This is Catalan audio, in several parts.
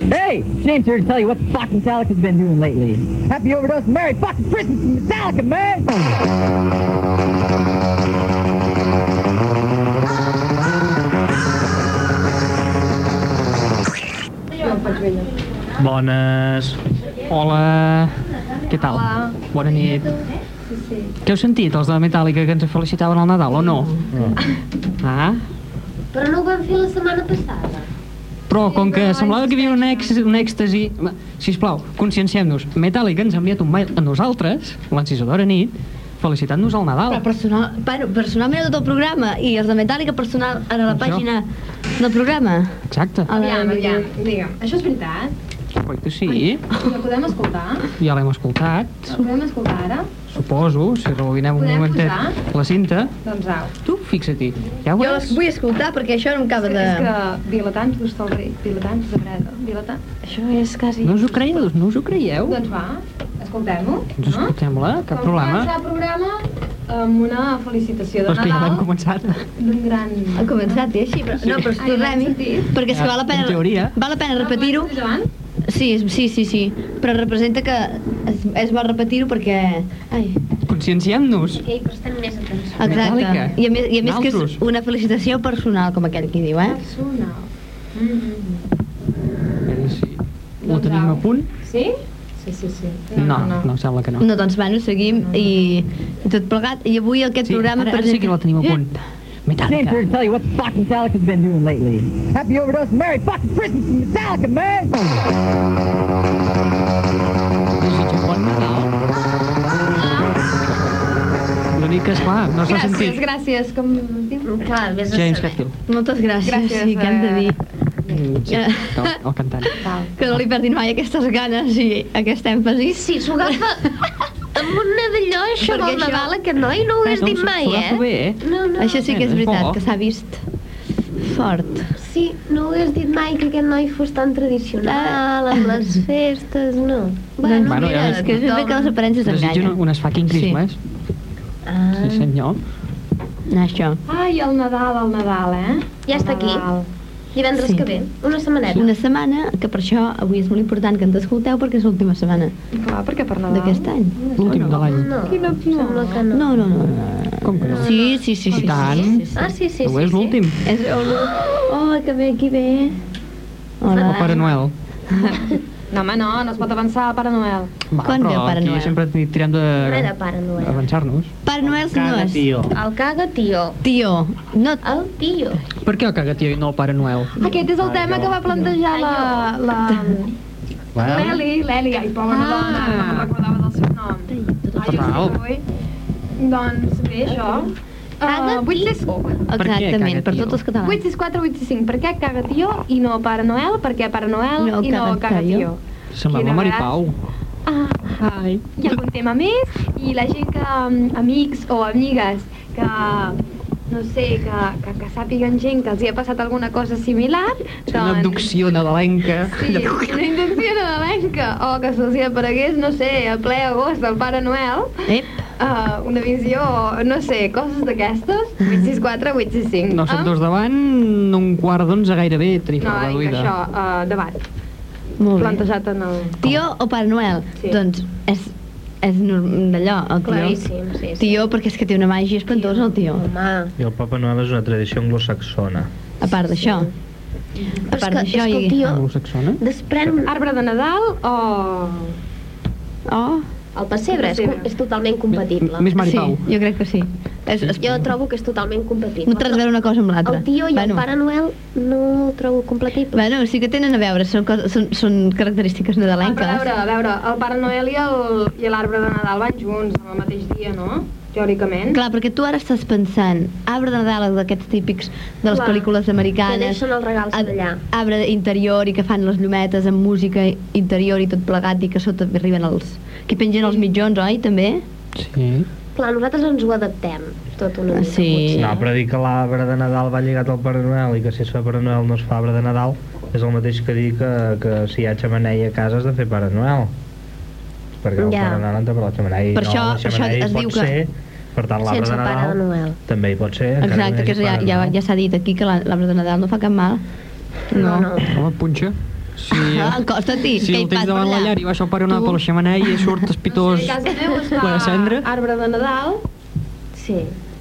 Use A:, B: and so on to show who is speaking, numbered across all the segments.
A: Hey, James here to tell you what Fox Metallica has been doing lately. Happy overdose, Merry fucking Christmas, Metallica, man!
B: Bones.
C: Hola, què tal?
D: Hola.
C: Bona nit. Què heu sentit, els de Metallica, que ens felicitaven al Nadal, o no?
B: No.
C: Ah?
D: Però no ho vam fer la setmana passada.
C: Però com que semblava que hi havia un, ex, un èxtasi... Sisplau, conscienciem-nos. Metallica ens ha enviat un mail a nosaltres, l'encisadora nit, felicitant-nos al
E: Oh.
F: Però
C: Nadal.
F: personal, bueno, personalment a tot el programa i els de Metallica personal a la
C: Això.
F: pàgina del programa.
C: Exacte.
F: A la-
E: Aviam, aviam, digue'm, això és veritat?
C: Oi que sí?
E: Ho podem escoltar?
C: Ja l'hem escoltat,
E: Ho podem escoltar ara?
C: suposo, si rebobinem un
E: Podem
C: momentet la cinta.
E: Doncs au.
C: Tu, fixa-t'hi. Ja ho
F: Jo
C: veus?
F: els vull escoltar perquè això no em acaba
E: És
F: de...
E: que vilatants gusta el rei, vilatants de breda, vilatants... Això és quasi...
C: No us ho creieu? No us ho creieu?
E: Doncs va, escoltem-ho.
C: Doncs escoltem-la, cap
E: Com
C: problema. Doncs
E: començar el programa amb una felicitació
C: Però
E: de
C: és que ja l'hem
E: Nadal
C: començat.
E: d'un gran...
F: Ha començat, eh, així, però... No, però
E: Ai, l'hem
F: tornem-hi,
E: sentit.
F: perquè és que
C: Ja,
F: val la
C: en teoria.
F: pena... Val la pena repetir-ho.
E: Ah, Joan?
F: Sí, és- sí, sí, sí. Però representa que és, és bo repetir-ho perquè... Ai,
C: Conscienciem-nos.
D: Que hi presten més atenció.
F: exacte.
C: Metallica.
F: I a més, i a més que és
C: Naltros.
F: una felicitació personal, com aquell qui diu, eh?
E: Personal. Mm -hmm.
D: Mm-hmm.
C: Eh, Sí. Ho
E: Doncs
C: tenim
E: au.
C: a punt?
E: Sí? Sí, sí, sí.
C: No, no, sembla que no.
F: No, doncs, bueno, seguim i, i tot plegat. I avui aquest
C: Sí,
F: programa...
C: ara, ara sí que la tenim a punt.
A: James here
C: Metallica.
A: to tell you what Fox Eh? Metallica has been doing lately. Happy overdose, Merry fucking Christmas, Metallica, man!
C: Desitjo bon Nadal. L'únic que, esclar, no s'ha
E: Gràcies,
C: sentit.
E: gràcies, com diu.
D: Clar, vés a
C: James
D: saber.
C: Hetfield.
F: Eh, Moltes gràcies,
E: Gràcies,
F: gràcies sí, que hem de
E: eh,
F: dir.
C: Mm, Sí,
F: Ja.
C: el, el cantant.
E: Val.
F: Que no li perdin mai aquestes ganes i aquest èmfasi.
D: Sí, s'ho agafa amb un medalló, això
F: Perquè
D: del
F: això-
D: Nadal, que noi, no ho hauries
C: No,
D: dit
C: s'ho-
D: mai,
C: s'ho agafo
D: eh?
C: bé, eh?
D: No, no,
F: Això sí que
C: És
F: és
C: bo.
F: veritat, que s'ha vist fort.
D: sí, no ho hauries dit mai que aquest noi fos tan tradicional, amb les festes, no.
F: Doncs
C: Bueno, ja
F: mira,
C: ves.
F: és que és ben bé Ah. que les aparences
C: Desitjo
F: enganyen.
C: unes fucking
F: eh? Sí.
C: Christmas.
D: Ah.
C: Sí, senyor.
F: Això.
E: Ai, el Nadal, el Nadal, eh?
D: Ja
E: El
D: està aquí.
E: Nadal.
D: Divendres
F: Sí.
D: que ve, una setmaneta.
F: Una setmana, que per això avui és molt important que ens escolteu perquè és l'última setmana
E: Clar, perquè per Nadal...
F: d'aquest any.
C: L'últim de l'any.
D: No,
E: Quina opció.
D: sembla que no.
F: No, no, no. no.
C: Com que no?
F: Ah. Sí, sí, sí, sí.
C: I tant.
F: sí, sí, sí.
D: Ah, sí, sí, sí.
C: Avui és
D: sí.
C: l'últim.
F: És... Oh, que bé, aquí ve.
C: El
F: Hola.
C: Pare Noel.
E: No, home, no, no es pot avançar, Pare Noel.
C: Va,
F: Quan ve el
C: però
F: Pare
C: aquí
F: Noel?
C: sempre ti- tirem
D: Res de
C: de...
D: pare Noel.
C: avançar-nos.
F: Pare Noel,
B: Cada
F: senyors.
B: tio.
D: El caga, tio.
F: Tio, no...
D: El tio.
C: Per què el caga tio i no el Pare Noel?
E: Aquest és el tema que va plantejar la... la...
B: Well,
E: L'Eli, l'Eli, ai, pobra ah. dona, no me'n recordava del seu nom. Ai,
C: Fatal.
E: avui. Doncs bé, això.
D: Caga,
E: Uh, 864,
C: Per què
F: Exactament,
C: caga
F: per
C: tio?
F: tots els catalans.
E: 865, per què caga tio i no Pare Noel? Per què Pare Noel
F: No
E: i no
F: caga
E: caga
F: tio?
E: tio?
C: Semblava
E: Quina
C: Mari
E: gràcia.
C: Pau.
E: Ah,
C: Ai.
E: hi ha algun tema més i la gent que, mm, amics o amigues que, no sé, que, que, que sàpiguen gent que els hi ha passat alguna cosa similar,
C: Una abducció nadalenca.
E: Doncs- Sí, una inducció nadalenca, o que se'ls hi aparegués, no sé, a ple agost del Pare Noel,
F: Ep,
E: uh, una visió, no sé, coses d'aquestes, 864, 865.
C: No són
E: eh?
C: dos davant, un quart d'onze gairebé, tarifa
E: No, vinga,
C: reduïda.
E: això, uh, debat,
F: molt bé.
E: plantejat en el...
F: Tio o Pare Noel?
E: Sí.
F: Doncs és, és norm- d'allò, el tio.
D: Claríssim, sí, sí.
F: Tio, perquè és que té una màgia espantosa, el tio.
D: Home.
B: I el Papa Noel és una tradició anglosaxona.
F: A part d'això. A
D: Però és
F: part
D: que,
F: d'això,
D: és que el
F: i...
C: Ah,
F: Ah.
D: tio
C: Anglosaxona?
D: desprèn
E: Arbre de Nadal o...
F: Oh,
D: El pessebre és,
E: Pessebre.
D: és totalment compatible.
C: Més Mari
F: sí,
C: Pau.
F: jo crec que sí. És, és,
D: Jo trobo que és totalment compatible.
F: no té res a veure una cosa amb l'altra.
D: El tio i
F: bueno,
D: el Pare Noel no el trobo compatible.
F: Bueno, sí que tenen a veure, són, cos, són, són característiques
E: Ah, però a
F: nadalenques.
E: veure, a veure, el Pare Noel i el- i l'arbre de Nadal van junts en el mateix dia, no? Teòricament.
F: Clar, perquè tu ara estàs pensant, arbre de Nadal d'aquests típics de les
E: Clar.
F: pel·lícules
D: Que
F: americanes,
D: deixen els regals
F: Ab-
D: allà.
F: arbre interior i que fan les llumetes amb música interior i tot plegat i que sota arriben els... que pengen els mitjons, oi, també?
C: Sí.
D: Clar, nosaltres ens ho adaptem, tot una
F: Ah,
D: mica.
F: sí.
D: potser.
B: No, però dir que l'arbre de Nadal va lligat al Pare Noel i que si es fa Pare Noel no es fa arbre de Nadal és el mateix que dir que, que si hi ha xamaneia a casa has de fer Pare Noel. Perquè el
D: Ja.
B: Pare Noel entra per la xamaneia i
F: Per
B: no,
F: això-
B: la
F: per això
B: xamaneia
F: es
B: pot
F: diu que-
B: ser Per tant, l'arbre
D: Sense
B: de
D: el Pare
B: Nadal,
D: Noel.
B: també hi pot ser. encara
F: Exacte,
B: hi
F: que
B: hagi
F: ja,
B: Pare
F: ja,
B: Noel.
F: ja s'ha dit aquí que la- l'arbre de Nadal no fa cap mal. No. no,
C: Home, punxa. Si,
B: eh.
F: Ah, costa-t'hi,
C: si
F: que hi
C: el tens
F: pas per
C: davant la
F: allà.
C: llar i baixa el pare una
F: Tu.
C: per la xemeneia i surt
G: No
C: espitós.
G: sé, a casa meu es
C: ple de cendra.
G: fa arbre de Nadal. Sí.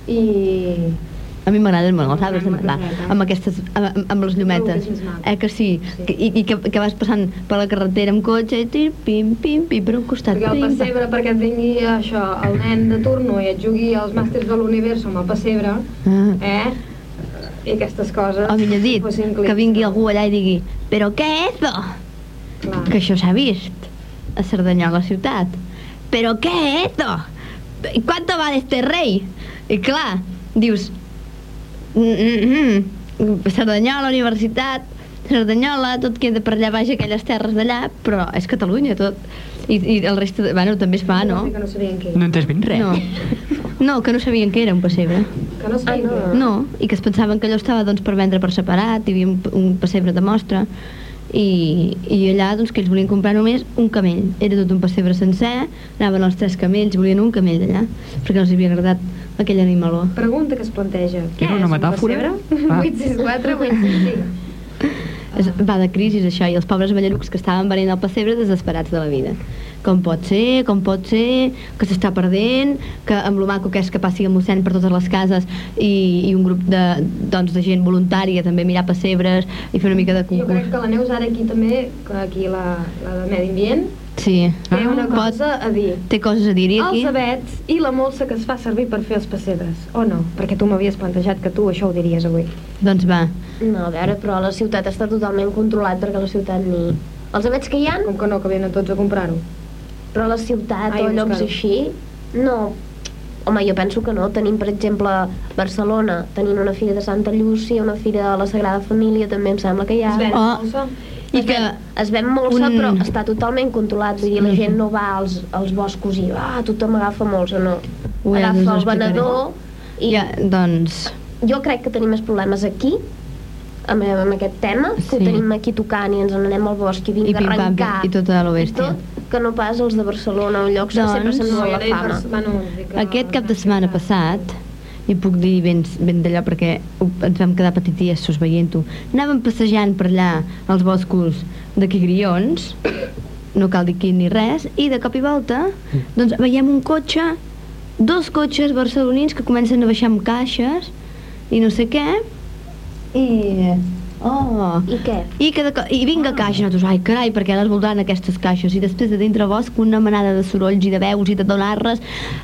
G: I...
F: A mi m'agraden molt els arbres de
G: M'agraden
F: Nadal,
G: molt, eh?
F: amb, aquestes, amb, amb- amb les llumetes.
G: que és maco.
F: Eh que sí?
G: Sí.
F: Que, i, I que, que vas passant per la carretera amb cotxe i tir, pim, pim, pim, per un costat.
G: Perquè el
F: pim, pam.
G: pessebre, perquè et vingui això, el nen de turno i et jugui als màsters de l'univers amb el pessebre,
F: Ah.
G: eh? I aquestes coses...
F: O millor dit,
G: fossin clics,
F: que vingui
G: no?
F: algú allà i digui «Però què és eso?»
G: Clar.
F: Que això s'ha vist a Cerdanyola ciutat. «Però què és eso? ¿Y ¿Cuánto vale este rei?» I clar, dius mm, mm, mm, Cerdanyola, universitat, Cerdanyola, tot queda per allà baix, aquelles terres d'allà, però és Catalunya tot. I, i el reste, de, bueno, també es fa, no?
G: Que no sabien què.
C: No en tens ben res.
F: No. No, que no sabien que era un pessebre.
G: Que no sabien
D: Ah, no.
G: què.
F: No, i que es pensaven que allò estava doncs, per vendre per separat, hi havia un, un pessebre de mostra, i, i allà doncs, que ells volien comprar només un camell. Era tot un pessebre sencer, anaven els tres camells, volien un camell d'allà, perquè els havia agradat aquell animaló.
G: Pregunta que es planteja. Què
C: Era una
G: és un
C: metàfora?
G: pessebre?
C: Ah.
G: 864, 865.
F: Es,
G: Ah,
F: va de crisis això, i els pobres ballarucs que estaven venint al pessebre desesperats de la vida. Com pot ser, com pot ser, que s'està perdent, que amb lo maco que és que passi el mossèn per totes les cases i, i un grup de, doncs, de gent voluntària també mirar pessebres i fer una mica de
G: Jo crec
F: concurs.
G: que la Neus ara aquí també, que aquí la, la de Medi Ambient,
F: Sí.
G: té una
F: Ah. Pot-
G: cosa a dir.
F: Té coses a dir-hi aquí?
G: Els abets i la molsa que es fa servir per fer els pessebres, o no? Perquè tu m'havies plantejat que tu això ho diries avui.
F: Doncs va.
D: No, a veure, però la ciutat està totalment controlat perquè la ciutat ni... Els abets que hi han,
G: Com que no, que venen tots a comprar-ho.
D: però la ciutat
G: Ai,
D: o llocs
G: buscar-ho.
D: així, no. Home, jo penso que no. Tenim, per exemple, Barcelona, tenim una fira de Santa Llúcia, una fira de la Sagrada Família, també em sembla que hi ha.
G: Es ven
F: Ah.
G: molsa?
F: I
D: Es
F: que
D: ven- es ven molsa,
F: un-
D: però està totalment controlat. Vull dir, la gent no va als, als boscos i ah, tothom agafa molsa, no.
F: Ui, ara us ho
D: agafa el
F: explicaré.
D: venedor i
F: ja, doncs...
D: jo crec que tenim més problemes aquí amb, amb aquest tema, que ho
F: Sí.
D: tenim aquí tocant i ens n'anem al bosc i vinc
F: I pim-pam,
D: arrencar
F: pim, i tota la bèstia.
D: tot, que no pas els de Barcelona o
F: Doncs-
D: llocs que sempre se'n
G: No,
D: dona
G: jo
D: la
G: deia
D: fama.
G: pers- bueno, dic que-
F: Aquest cap de setmana passat, i puc dir ben, ben d'allò perquè ho- ens vam quedar petities veient-ho, anàvem passejant per allà als boscos d'aquí Grions, no cal dir quin ni res, i de cop i volta doncs, veiem un cotxe, dos cotxes barcelonins que comencen a baixar amb caixes i no sé què, i... Oh,
D: I què?
F: I, que de, co- i vinga caixa, nosaltres, ai carai, per què les voldran aquestes caixes? I després de dintre bosc una manada de sorolls i de veus i de donarres,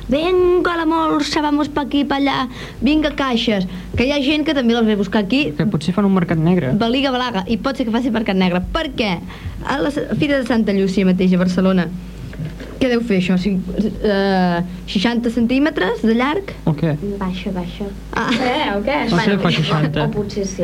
F: vinga la molsa, vamos pa aquí, pa allà, vinga caixes, que hi ha gent que també les ve a buscar aquí,
C: Que potser fan un mercat negre.
F: Baliga Balaga, i pot ser que faci mercat negre. Per què? A la S- Fira de Santa Llúcia mateix a Barcelona, què deu fer això? Cin- eh, 60 centímetres de llarg?
C: O què?
D: Baixa, baixa.
F: Ah,
G: Eh, o què?
C: O sigui, fa
D: O
C: 60.
D: potser sí.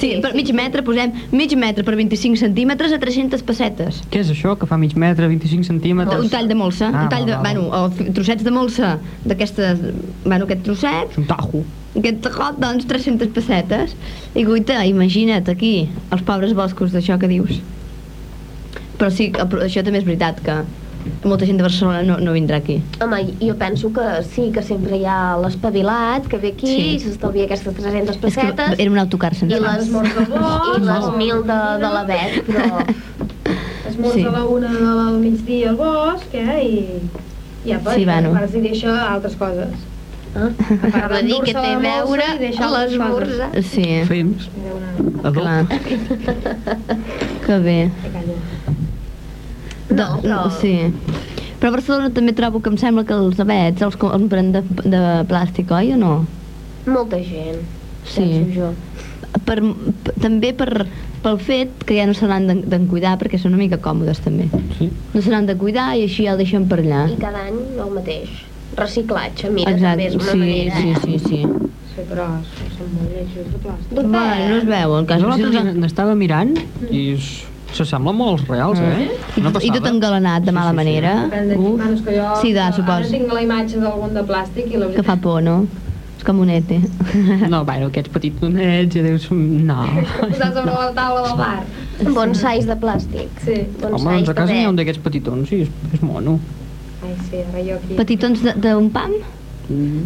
F: sí, per mig metre posem mig metre per 25 centímetres a 300 pessetes.
C: Què és això que fa mig metre, 25 centímetres?
F: Un tall de molsa,
C: Ah,
F: un tall de,
C: val, val.
F: bueno, o f- trossets de molsa d'aquestes, bueno, aquest trosset,
C: És un tajo.
F: aquest tacot, doncs 300 pessetes. I guita, imagina't aquí, els pobres boscos d'això que dius. Però sí, que- però això també és veritat, que molta gent de Barcelona no, no vindrà aquí.
D: Home, jo penso que sí, que sempre hi ha l'espavilat que ve aquí
F: Sí.
D: i s'estalvia aquestes
F: És
D: 300
F: que
D: pessetes.
F: era un autocar
D: i
F: sense
D: les, i les mil de, de l'abet, però eh?
G: Esmorza
F: Sí.
G: sí. a la una del migdia al bosc, eh, i... I apa,
F: Sí,
G: i
F: bueno.
G: a part s'hi deixa altres coses.
D: Ah,
G: part
D: de dir
G: d'endur-se
D: que té
G: la
D: a
G: molsa
D: veure
G: i deixar altres
D: l'esmorzar.
F: Sí,
C: Fems.
F: clar. Que bé.
D: No, però-
F: Sí. Però a Barcelona també trobo que em sembla que els abets els compren de, de plàstic, oi o no?
D: Molta gent,
F: Sí.
D: penso jo.
F: per, p- també per, pel fet que ja no se l'han d'en- d'en cuidar perquè són una mica còmodes també.
C: Sí.
F: No se l'han de cuidar i així ja el deixen per allà.
D: I cada any el mateix. Reciclatge, mira,
F: Exacte,
D: també és una
F: sí,
D: manera.
F: sí, sí, sí.
G: Sí, però són molt lletjos de plàstic.
D: Doncs
F: Bueno,
D: bé,
F: no es veu, el cas
C: Jo l'altre dia
F: I,
C: n'estava mirant i s- s'assembla molt als reals, eh? Una
F: tot- Mm. I tot
C: passada.
F: engalanat de
C: Sí, sí,
F: mala
C: sí.
F: manera.
G: Depèn de quin
F: Uf,
G: manos que jo...
F: Sí, da,
G: ara
F: suposo.
G: tinc la imatge d'algun de plàstic i la
F: que fa
G: veritat...
F: por, no? És com un ete.
C: No, bueno, aquests petits donets, ja dius... No.
G: Posar sobre la taula del bar.
D: bonsais de plàstic.
G: Sí.
D: Bonsais
C: Home, doncs a casa
D: d'abet.
C: n'hi ha un d'aquests petitons i és, és mono.
G: Ai, sí, ara jo aquí...
F: Petitons de- d'un pam?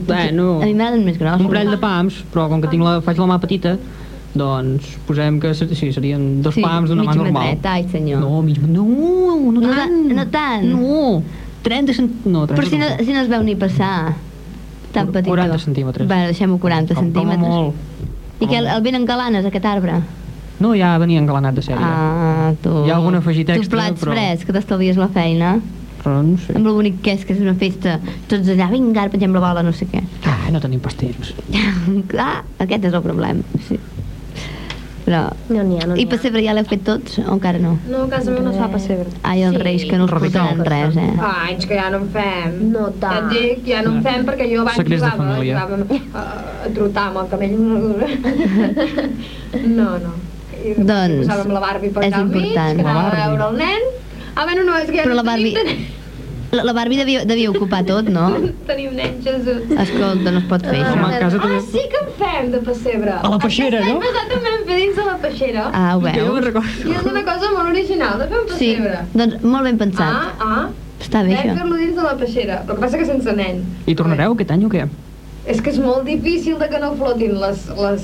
C: Bueno,
F: A mi m'agraden més grossos.
C: un parell de pams, però com que tinc la, faig la mà petita, doncs posem que ser- sí, serien dos pams d'una mà
F: mig
C: normal.
F: metret, ai senyor.
C: No, mig... No, no
F: No
C: tant.
F: ta- no tant.
C: No, 30 cent... No, 30
F: Però si no, si no es veu ni passar. Tan
C: Qu-
F: petit.
C: 40 centímetres.
F: Va, deixem-ho 40
C: Com- com a
F: centímetres.
C: molt.
F: I que el, el venen galanes, aquest arbre?
C: No, ja venia engalanat de sèrie.
F: Ah, tu...
C: Hi ha algun afegit
F: Tu
C: extra,
F: plats
C: però-
F: fresc, que t'estalvies la feina.
C: Però no sé.
F: Amb el bonic que és, que és una festa. Tots allà, vinga, ara pengem la bola, no sé què.
C: Ah, no tenim pastells.
F: ah, aquest és el problema, sí. Però...
D: No n'hi ha, no n'hi
F: I
D: ha.
F: pessebre ja l'heu fet tots o encara no?
E: No, a casa meva no es fa pessebre.
F: Ai, els
D: Sí,
F: reis que no us
C: radical.
F: portaran res, eh?
E: Fa anys que ja no en fem.
D: No
E: Ja et
D: tant.
E: dic, ja no en fem perquè jo abans
C: Secrets de
E: jugava,
C: família.
E: jugava a, a trotar amb el cabell. No, no. I
F: Doncs,
E: posàvem la Barbie per
F: és
E: allà al mig, que
F: important. La
E: anava a
C: Barbie.
E: veure el nen. Ah, bueno, no, és que ja
F: Però
E: no
F: la Barbie-
E: tenim,
F: La, la Barbie devia, devia ocupar tot, no?
E: tenim, tenim nen Jesús.
F: Escolta, no es pot fer
C: Home,
F: això.
C: a casa també-
E: Ah, sí que en fem, de pessebre.
C: A la peixera, no?
E: Aquest any passat també en fer dins de la peixera.
F: Ah, ho veus?
E: I és una cosa molt original, de fer un
F: Sí,
E: pessebre.
F: doncs molt ben pensat.
E: Ah, ah.
F: Està bé,
E: Vam
F: això.
E: fer-lo dins de la peixera. El que passa que sense nen.
C: I tornareu aquest any o què?
E: És que és molt difícil de que no flotin les... les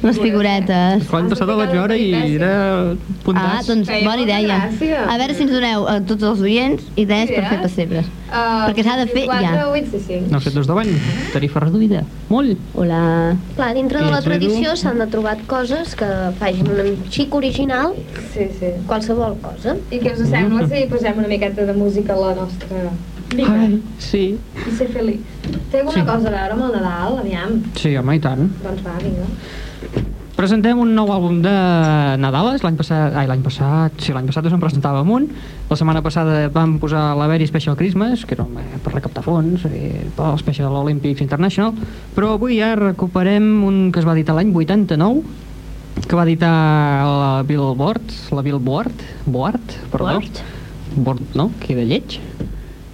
F: Les figuretes.
C: L'any passat el vaig veure i era
F: Ah,
C: puntàs.
F: doncs
E: Feia
F: bona
E: molta
F: idea.
E: gràcia.
F: A veure si ens doneu a tots els oients idees per
E: Idees?
F: fer pessebres.
E: Uh,
F: Perquè s'ha de fer ja.
E: 4, 8, 5.
C: 902 d'avall, tarifa reduïda. Molt.
F: Hola.
D: Clar, dintre de la
C: Ells vedo-
D: tradició s'han de trobar coses que facin un xic original
E: Sí, sí.
D: qualsevol cosa.
E: I què us sembla si posem una miqueta de música a la nostra...
C: Ai, sí.
E: I ser feliç. Té
C: Sí.
E: alguna cosa a veure amb el Nadal, aviam?
C: Sí, home, i tant.
E: Doncs va, vinga.
C: Presentem un nou àlbum de Nadales, l'any passat, ai, l'any passat, sí, l'any passat us en presentàvem un, la setmana passada vam posar la Very Special Christmas, que era eh, per recaptar fons, eh, pel Special Olympics International, però avui ja recuperem un que es va editar l'any 89, que va editar la Billboard, la Billboard, Board, perdó.
D: Board.
C: Board, no? Queda lleig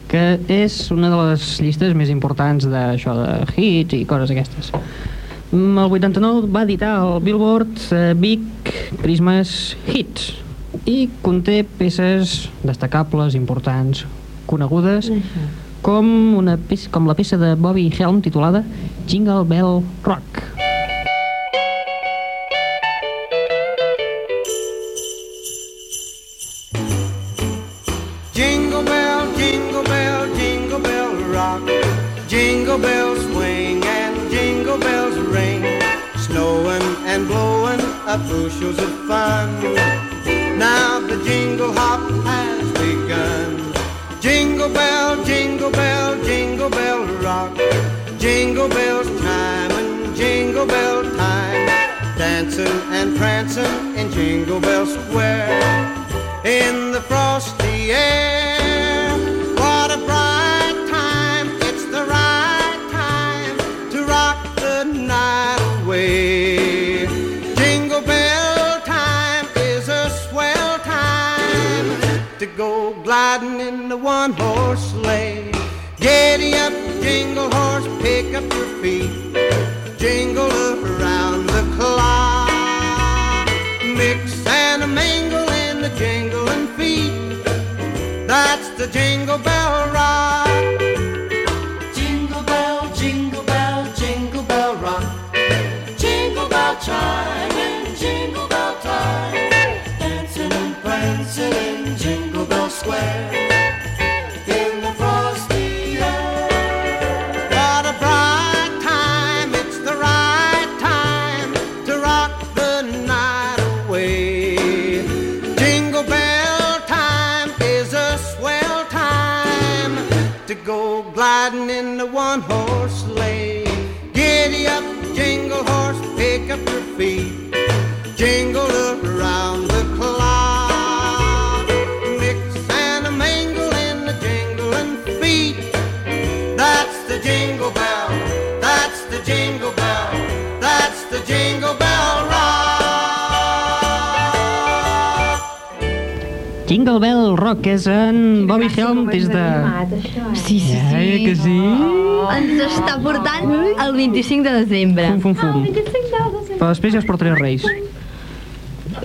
C: que és una de les llistes més importants d'això de hits i coses aquestes. Mm, El 89 va editar el Billboard eh, Big Christmas Hits i conté peces destacables, importants, conegudes, com, una peça, com la peça de Bobby Helm titulada Jingle Bell Rock.
H: Jingle bell, jingle bell, jingle bell rock. Jingle bells swing and jingle bells ring. Snowing and blowing up bushels of fun. Now the jingle hop has begun. Jingle bell, jingle bell, jingle bell rock. Jingle bells time and jingle bell time. Dancing and prancing in Jingle Bell Square in the frosty air. What a bright time, it's the right time to rock the night away. Jingle bell time is a swell time to go gliding in the one horse sleigh. Giddy up, jingle horse, pick up your feet. Jingle around the clock. Mix and a mingle in the jingling feet. That's the jingle bell rock. Jingle bell, jingle bell, jingle bell rock. Jingle bell chime and jingle bell time. Dancing and prancing in Jingle Bell Square. In the frosty air. What a bright time, it's the right time to rock the night away. Jingle bell time is a swell time to go gliding in the one horse sleigh. Giddy up, jingle horse, pick up your feet. Jingle around the clock. Mix and a mingle in the jingling feet. That's the jingle bell. That's the jingle bell. That's the jingle bell rock.
C: Jingle Bell Rock és en Bobby Helm des de...
F: Sí, sí,
C: Eh,
F: sí.
C: que sí?
F: Ens està portant el 25 de desembre.
C: Fum, fum, fum.
F: eh.
C: Però després ja us portaré els Reis.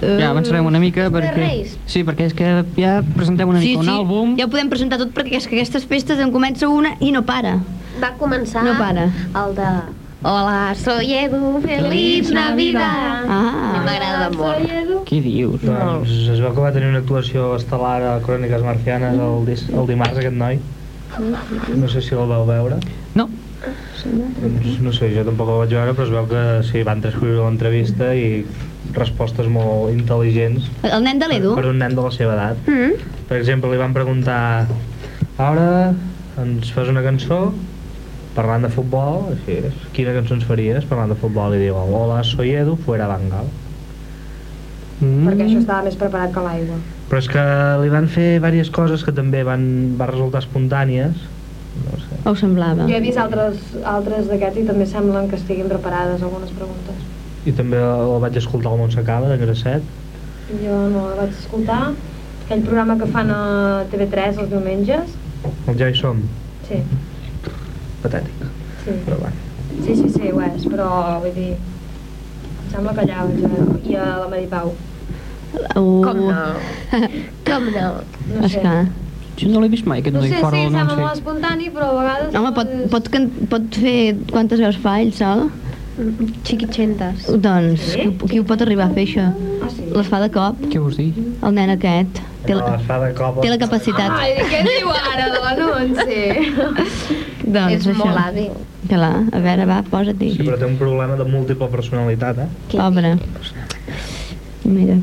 C: Ja avançarem una mica perquè...
D: Reis?
C: Sí, perquè és que ja presentem una mica un àlbum.
F: ja ho podem presentar tot perquè és que aquestes festes en comença una i no para.
D: va començar
F: No para.
D: el de... Hola, soy Edu, feliç Navidad.
F: Ah.
D: A mi m'agrada molt.
C: Què dius?
B: Doncs es veu que va tenir una actuació estel·lar a Cròniques Marcianes el, dis, el dimarts, aquest noi.
F: Mm.
B: No sé si el vau veure.
C: No,
B: Doncs no sé, jo tampoc el vaig veure, però es veu que sí, van transcriure l'entrevista i respostes molt intel·ligents
F: El nen de
B: per,
F: l'Edu?
B: per un nen de la seva edat.
F: Mm.
B: Per exemple, li van preguntar ara ens fas una cançó parlant de futbol, així és. Quina cançó ens faries parlant de futbol? I diu, hola, soy Edu, fuera Bangal.
E: Perquè això estava més preparat que l'aigua.
B: Però és que li van fer diverses coses que també van, van resultar espontànies. No ho sé.
F: Ho semblava.
E: Jo he vist altres, altres d'aquests i també semblen que estiguin preparades algunes preguntes.
B: I també el vaig escoltar al Montsecada, de Gracet.
E: Jo no la vaig escoltar. Aquell programa que fan a TV3 els diumenges.
B: El ja hi som.
E: Sí,
B: Patètic.
E: sí.
B: Però va.
E: Sí, sí, sí, ho és, però vull dir... Em sembla que allà vaig veure. I a la Maripau.
F: Uh,
D: Com no? Com no?
F: Doncs
E: No sé.
F: Esclar.
C: jo no l'he vist mai, aquest
E: No
C: noi
E: sé,
C: fora
E: sí,
C: del
E: sembla
C: Montsec.
E: molt espontani, però a vegades...
F: Home, pot,
E: doncs,
F: pot, can, pot fer quantes veus fa ell sol?
D: Xiquitxentes.
F: Doncs, qui, ho- qui ho pot arribar a fer, això?
E: Ah, sí?
F: Les fa de cop,
C: Què vols dir?
F: el nen aquest. Té la,
B: fa de cop...
F: té la capacitat.
E: Ai, què diu ara, dona? No en sé.
F: Doncs
D: És
F: això.
D: molt hàbil.
F: Clar, a veure, va, posa't-hi.
B: Sí, però té un problema de múltiple personalitat, eh?
D: Què
F: Pobre. Mira.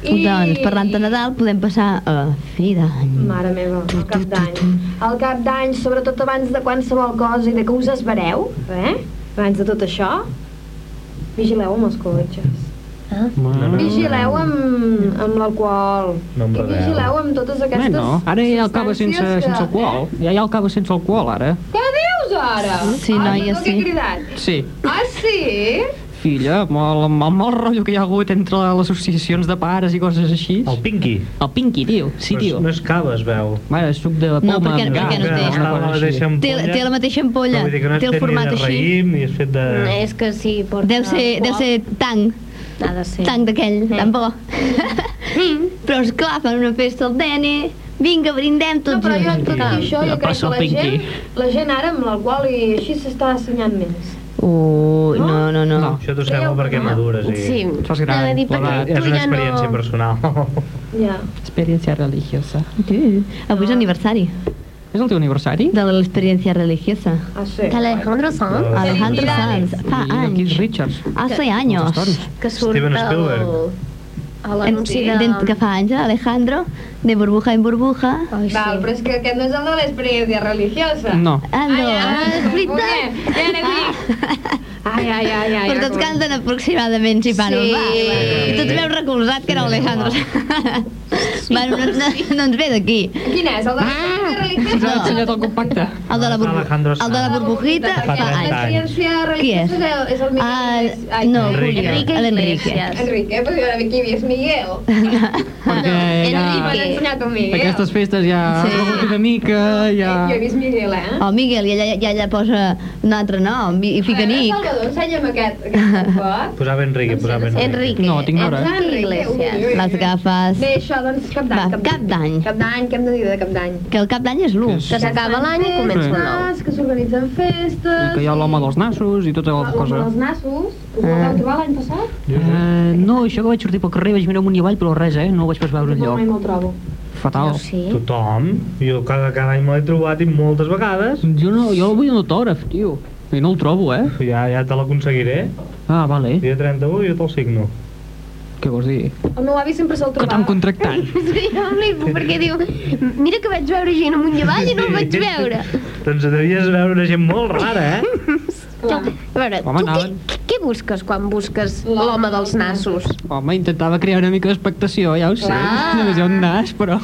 E: I-
F: Doncs, parlant de Nadal, podem passar a fi d'any.
E: Mare meva, el cap d'any. El cap d'any, sobretot abans de qualsevol cosa i de que us esvareu, eh? Abans de tot això, vigileu amb els cotxes.
B: No,
C: Ah.
B: no.
E: Vigileu amb, amb l'alcohol.
B: No em
E: I
B: beveu.
E: vigileu amb totes aquestes
C: Bueno, ara hi ha el cava sense,
E: substàncies
C: sense alcohol. Ja hi ha el cava sense alcohol, ara.
E: Què dius ara?
F: Sí, noia,
E: ah, tu que he
F: sí.
E: cridat.
C: Sí.
E: Ah, sí?
C: Filla, amb el, amb el mal rotllo que hi ha hagut entre les associacions de pares i coses així.
B: El Pinky.
C: El Pinky, tio. Sí,
B: Però
C: tio.
B: Oh. No es cava, es veu.
C: Mare, suc de poma
F: perquè-
C: amb
F: perquè no
C: gas,
F: té.
C: una
B: Estava a la
C: cosa
B: mateixa
C: així.
F: Té, té la mateixa ampolla,
B: Però vull dir que no és
F: té el
B: fet ni
F: format
B: de
F: així.
B: raïm, Ah. ni és fet de...
D: Mm, És que sí, porta...
F: Deu ser, deu ser tanc,
D: Ha de ser.
F: tanc d'aquell,
D: Sí.
F: tan bo. Però esclar, fan una festa al Dene, vinga, brindem
E: No,
F: tots
E: però jo, tot i
F: junts.
E: això,
C: Ja
E: jo crec
C: passa el
E: que la gent,
C: Pinky.
E: la gent ara amb l'alcohol i així s'està assenyant més.
F: Ui, no, no, no.
C: No.
B: Això t'ho sembla perquè madures i...
D: Sí.
C: Et fas gran,
D: Anava a dir, perquè
C: plegat.
D: tu
B: És una
D: ja no-
B: experiència personal.
E: Ja.
C: Experiència religiosa.
F: Sí. Avui és aniversari
C: És el teu aniversari?
F: de l'experiència religiosa.
E: Ah, sí.
D: Que Alejandro Sanz,
F: Alejandro Sanz, fa
C: I el Keith
F: Ah, anys,
C: Richards.
F: hace
C: Moltes
F: años.
C: hores.
D: que surt
B: Steven Spielberg.
D: al- a
F: En,
D: l'anunci de...
F: de, que fa anys, eh, Alejandro, de burbuja en burbuja.
D: Ai, sí.
E: Val, però és que aquest no és el de l'experiència religiosa.
C: No.
F: Ah, no,
E: Ai,
F: és
E: ai,
F: veritat.
E: molt bé. Ja n'he dit. Ai, ai, ai, ai.
F: Però tots canten aproximadament, si fan
D: Sí.
F: un bar. I tots veus recolzat que era Alejandro. bueno, no, no, no ens ve d'aquí.
E: Quin és? El de
C: Ah. Ens
E: l'experiència
C: ha
E: religiosa?
C: ensenyat el compacte.
F: El de la, burbu
B: Alejandro Sanz.
F: el de la burbujita
E: Perquè
F: fa anys.
E: L'experiència
F: Qui és?
E: religiosa és el- és el
F: Ah,
E: Miguel. Ai,
F: no,
B: Enrique.
F: Julio,
D: Enrique
F: l'Enrique.
D: Iglesias.
E: Enrique, però jo ara aquí hi és Miguel.
F: Ah.
C: Perquè ja...
E: I m'han ensenyat un Miguel.
C: Aquestes festes ja...
F: Sí.
C: Sí. una mica, ja...
E: Jo he vist Miguel, eh?
F: O Oh, Miguel, i ella, i ella posa un altre nom, i, i fica
E: A veure,
F: Nick.
E: Salvador, ensenya'm aquest, aquest pot.
B: Posava Enrique, posava Enrique.
D: Enrique.
C: No, tinc hora.
D: Enrique
E: Enrique, ui,
D: Iglesias.
E: ui.
F: Les gafes...
E: Bé, això, doncs, cap d'any.
F: Va, cap d'any.
E: Cap d'any, què hem de dir de cap d'any?
F: Que el cap d'any és l'1.
D: Que s'acaba l'any i comença el nou.
E: Festes, que s'organitzen festes...
C: Que hi ha l'home dels nassos i tota la
E: L'home
C: cosa.
E: dels nassos,
F: Ah.
E: ho vau trobar l'any passat?
C: Eh, no, això que vaig sortir pel carrer, vaig mirar amunt i avall, però res, eh? No ho vaig pas veure
E: No, mai
C: enlloc.
E: me'l trobo.
C: Fatal.
D: Jo sí.
B: Tothom. Jo cada, cada any me l'he trobat i moltes vegades.
C: Jo no, jo el vull un autògraf, tio. I no el trobo, eh?
B: Ja, ja te l'aconseguiré.
C: Ah, vale.
B: Dia 31 jo te'l signo.
C: Què vols dir?
E: El meu avi sempre se'l
C: Que
E: trobava.
C: t'han contractat.
D: Sí, jo em flipo perquè diu, mira que vaig veure gent amunt i avall i no el vaig veure.
B: doncs devies veure una gent molt rara, eh?
D: Jo, a veure,
C: Home,
D: tu què,
C: anaven.
D: què busques quan busques l'home dels nassos?
C: Home, intentava crear una mica d'expectació, ja ho sé.
D: Clar.
C: Només hi ha un nas, però...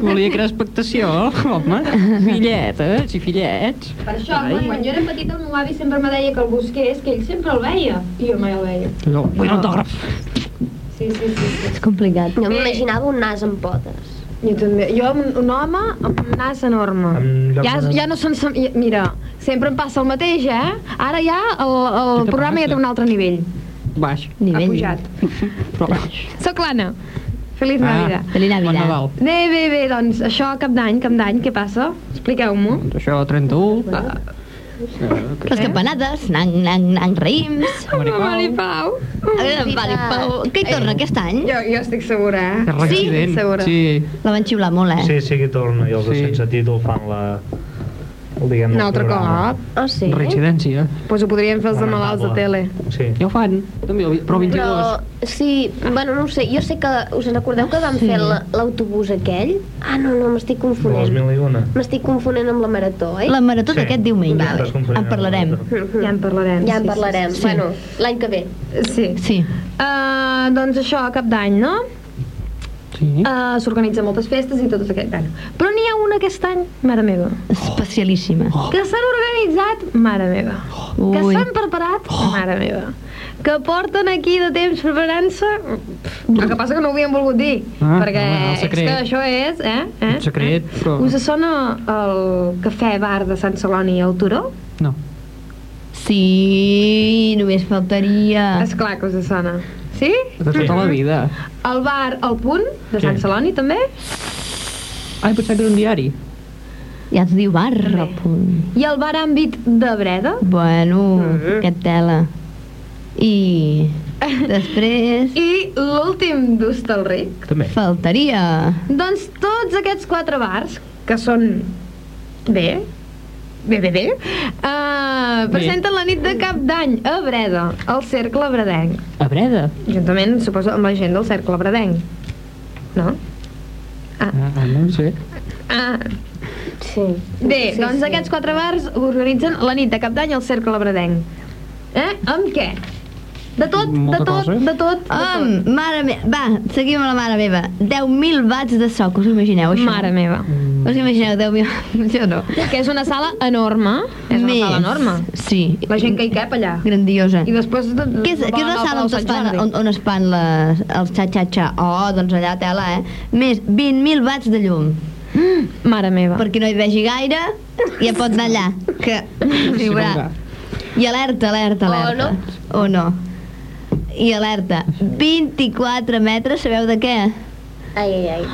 C: Volia crear expectació, home. Filletes i fillets.
E: Per això, quan, quan jo era petita, el meu avi sempre me deia que el busqués, que ell sempre el veia. I jo mai el veia.
C: Jo vull un autògraf.
E: Sí, sí, sí. sí.
F: És complicat.
D: Jo m'imaginava un nas amb potes.
E: Jo també. Jo, un, un home amb un nas enorme.
B: Amb lloc
E: Ja,
B: de-
E: ja no són... sem- ja- Mira, sempre em passa el mateix, eh? Ara ja el,
C: Què
E: el
C: te
E: programa ja
C: passa?
E: té un altre nivell.
C: Baix.
F: Nivell.
E: Ha pujat.
C: Però baix.
E: Soc l'Anna.
G: Feliç
C: Ah.
G: Navidad.
F: Feliz
C: Bon
F: Navidad.
C: Nadal.
G: Bé, bé, bé, doncs això, cap d'any, cap d'any, què passa? Expliqueu-m'ho.
C: Doncs això, 31. Ah,
F: Les campanades, nang, nang, nang, raïms.
G: Mari Pau.
F: A veure, Vali, Pau, què hi torna aquest any?
G: Jo, jo estic segura, eh?
C: que reaccident.
G: segura.
C: Ah, sí.
F: La van xiular molt, eh?
B: Sí, sí que torna, i els de
C: Sí.
B: sense títol fan la... El, diguem,
G: Un
B: el
G: altre
B: programa.
G: cop.
E: eh?
D: Oh, sí?
C: Reincidència.
G: Doncs pues ho podrien fer els de malalts de tele.
B: Sí.
C: Ja ho fan, també, el vi- però 22.
D: Però, sí, bueno, no ho sé, jo sé que... Us en recordeu que vam fer la- l'autobús aquell? Ah, no, no, m'estic
B: De
C: Doncs
B: les
D: confonent.
B: mil i una.
D: M'estic confonent amb la marató, eh? oi?
F: La marató
B: Sí.
F: d'aquest diumenge.
B: Estàs
F: En
B: confonent amb
F: parlarem.
B: l'altre.
E: Ja en parlarem.
D: Ja en parlarem.
F: sí, sí.
D: Bueno, l'any que ve.
E: Sí. Eh,
F: Sí.
G: Uh, doncs això, cap d'any, no?
C: Sí.
E: Uh, S'organitzen moltes festes i tot aquest... Bueno. Però n'hi ha una aquest any, mare meva,
F: Especialíssima.
B: Oh.
E: que s'han organitzat, mare meva, que
F: Ui.
E: s'han preparat,
C: Oh.
E: mare meva, que porten aquí de temps preparant-se... pff, El que passa que no ho havien volgut dir,
C: Ah,
E: perquè
C: home, el
E: és
C: secret.
E: que això és... Eh? eh?
C: Un secret,
E: eh?
C: però-
E: Us sona el cafè bar de Sant Celoni al Turó?
C: No.
F: Sí, només
C: Ah.
F: faltaria...
E: És clar que us sona. Sí?
C: De tota la vida.
E: El bar El Punt, de Sant
B: Sí.
E: Celoni, també?
C: Ai, pensava que era un diari.
F: Ja es diu bar, a punt.
E: I el bar Àmbit de Breda?
F: Bueno, que tela. I després
E: I l'últim d'Hostalric.
B: També.
F: faltaria...
E: Doncs tots aquests quatre bars, que són bé, bé, bé, bé, uh, presenten la nit de cap d'any a Breda, al Cercle Bredenc.
C: A Breda.
E: Juntament, suposo, amb la gent del Cercle Bredenc. No?
C: Ah, ah, no ho sé.
E: Ah,
D: Sí.
E: bé,
D: Sí,
E: doncs
D: sí.
E: aquests quatre bars organitzen la nit de cap d'any al Cercle Bredenc. Eh? Amb què? De tot,
C: Molta
E: de tot,
C: cosa.
E: de tot, de tot.
F: Am, mare meva, va, seguim amb la mare meva. 10.000 watts de so, que us ho imagineu això?
E: Mare meva.
F: Us imagineu 10.000... Jo no.
E: Que és una sala enorme. És una
F: Més.
E: sala enorme.
F: Sí.
E: La gent que hi cap allà.
F: Grandiosa.
E: I després...
F: Què és, què és la sala on es fan, on, on es fan les, els xa-xa-xa? Oh, doncs allà tela, eh? Més 20.000 watts de llum.
E: Mare meva.
F: Perquè no hi vegi gaire, ja pot anar allà, que viurà. I alerta, alerta, alerta. O no. O no. I alerta. 24 metres, sabeu de què?
D: Ai, ai, ai.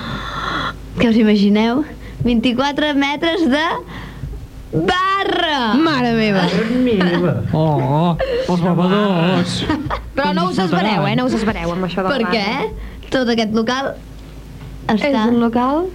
F: Que us imagineu? 24 metres de barra!
E: Mare meva.
B: Meva.
C: Oh, els bevedors.
E: Però no us esvareu, eh? No us esvareu amb això de la
F: Perquè
E: barra.
F: tot aquest local
E: És
F: està...
E: un local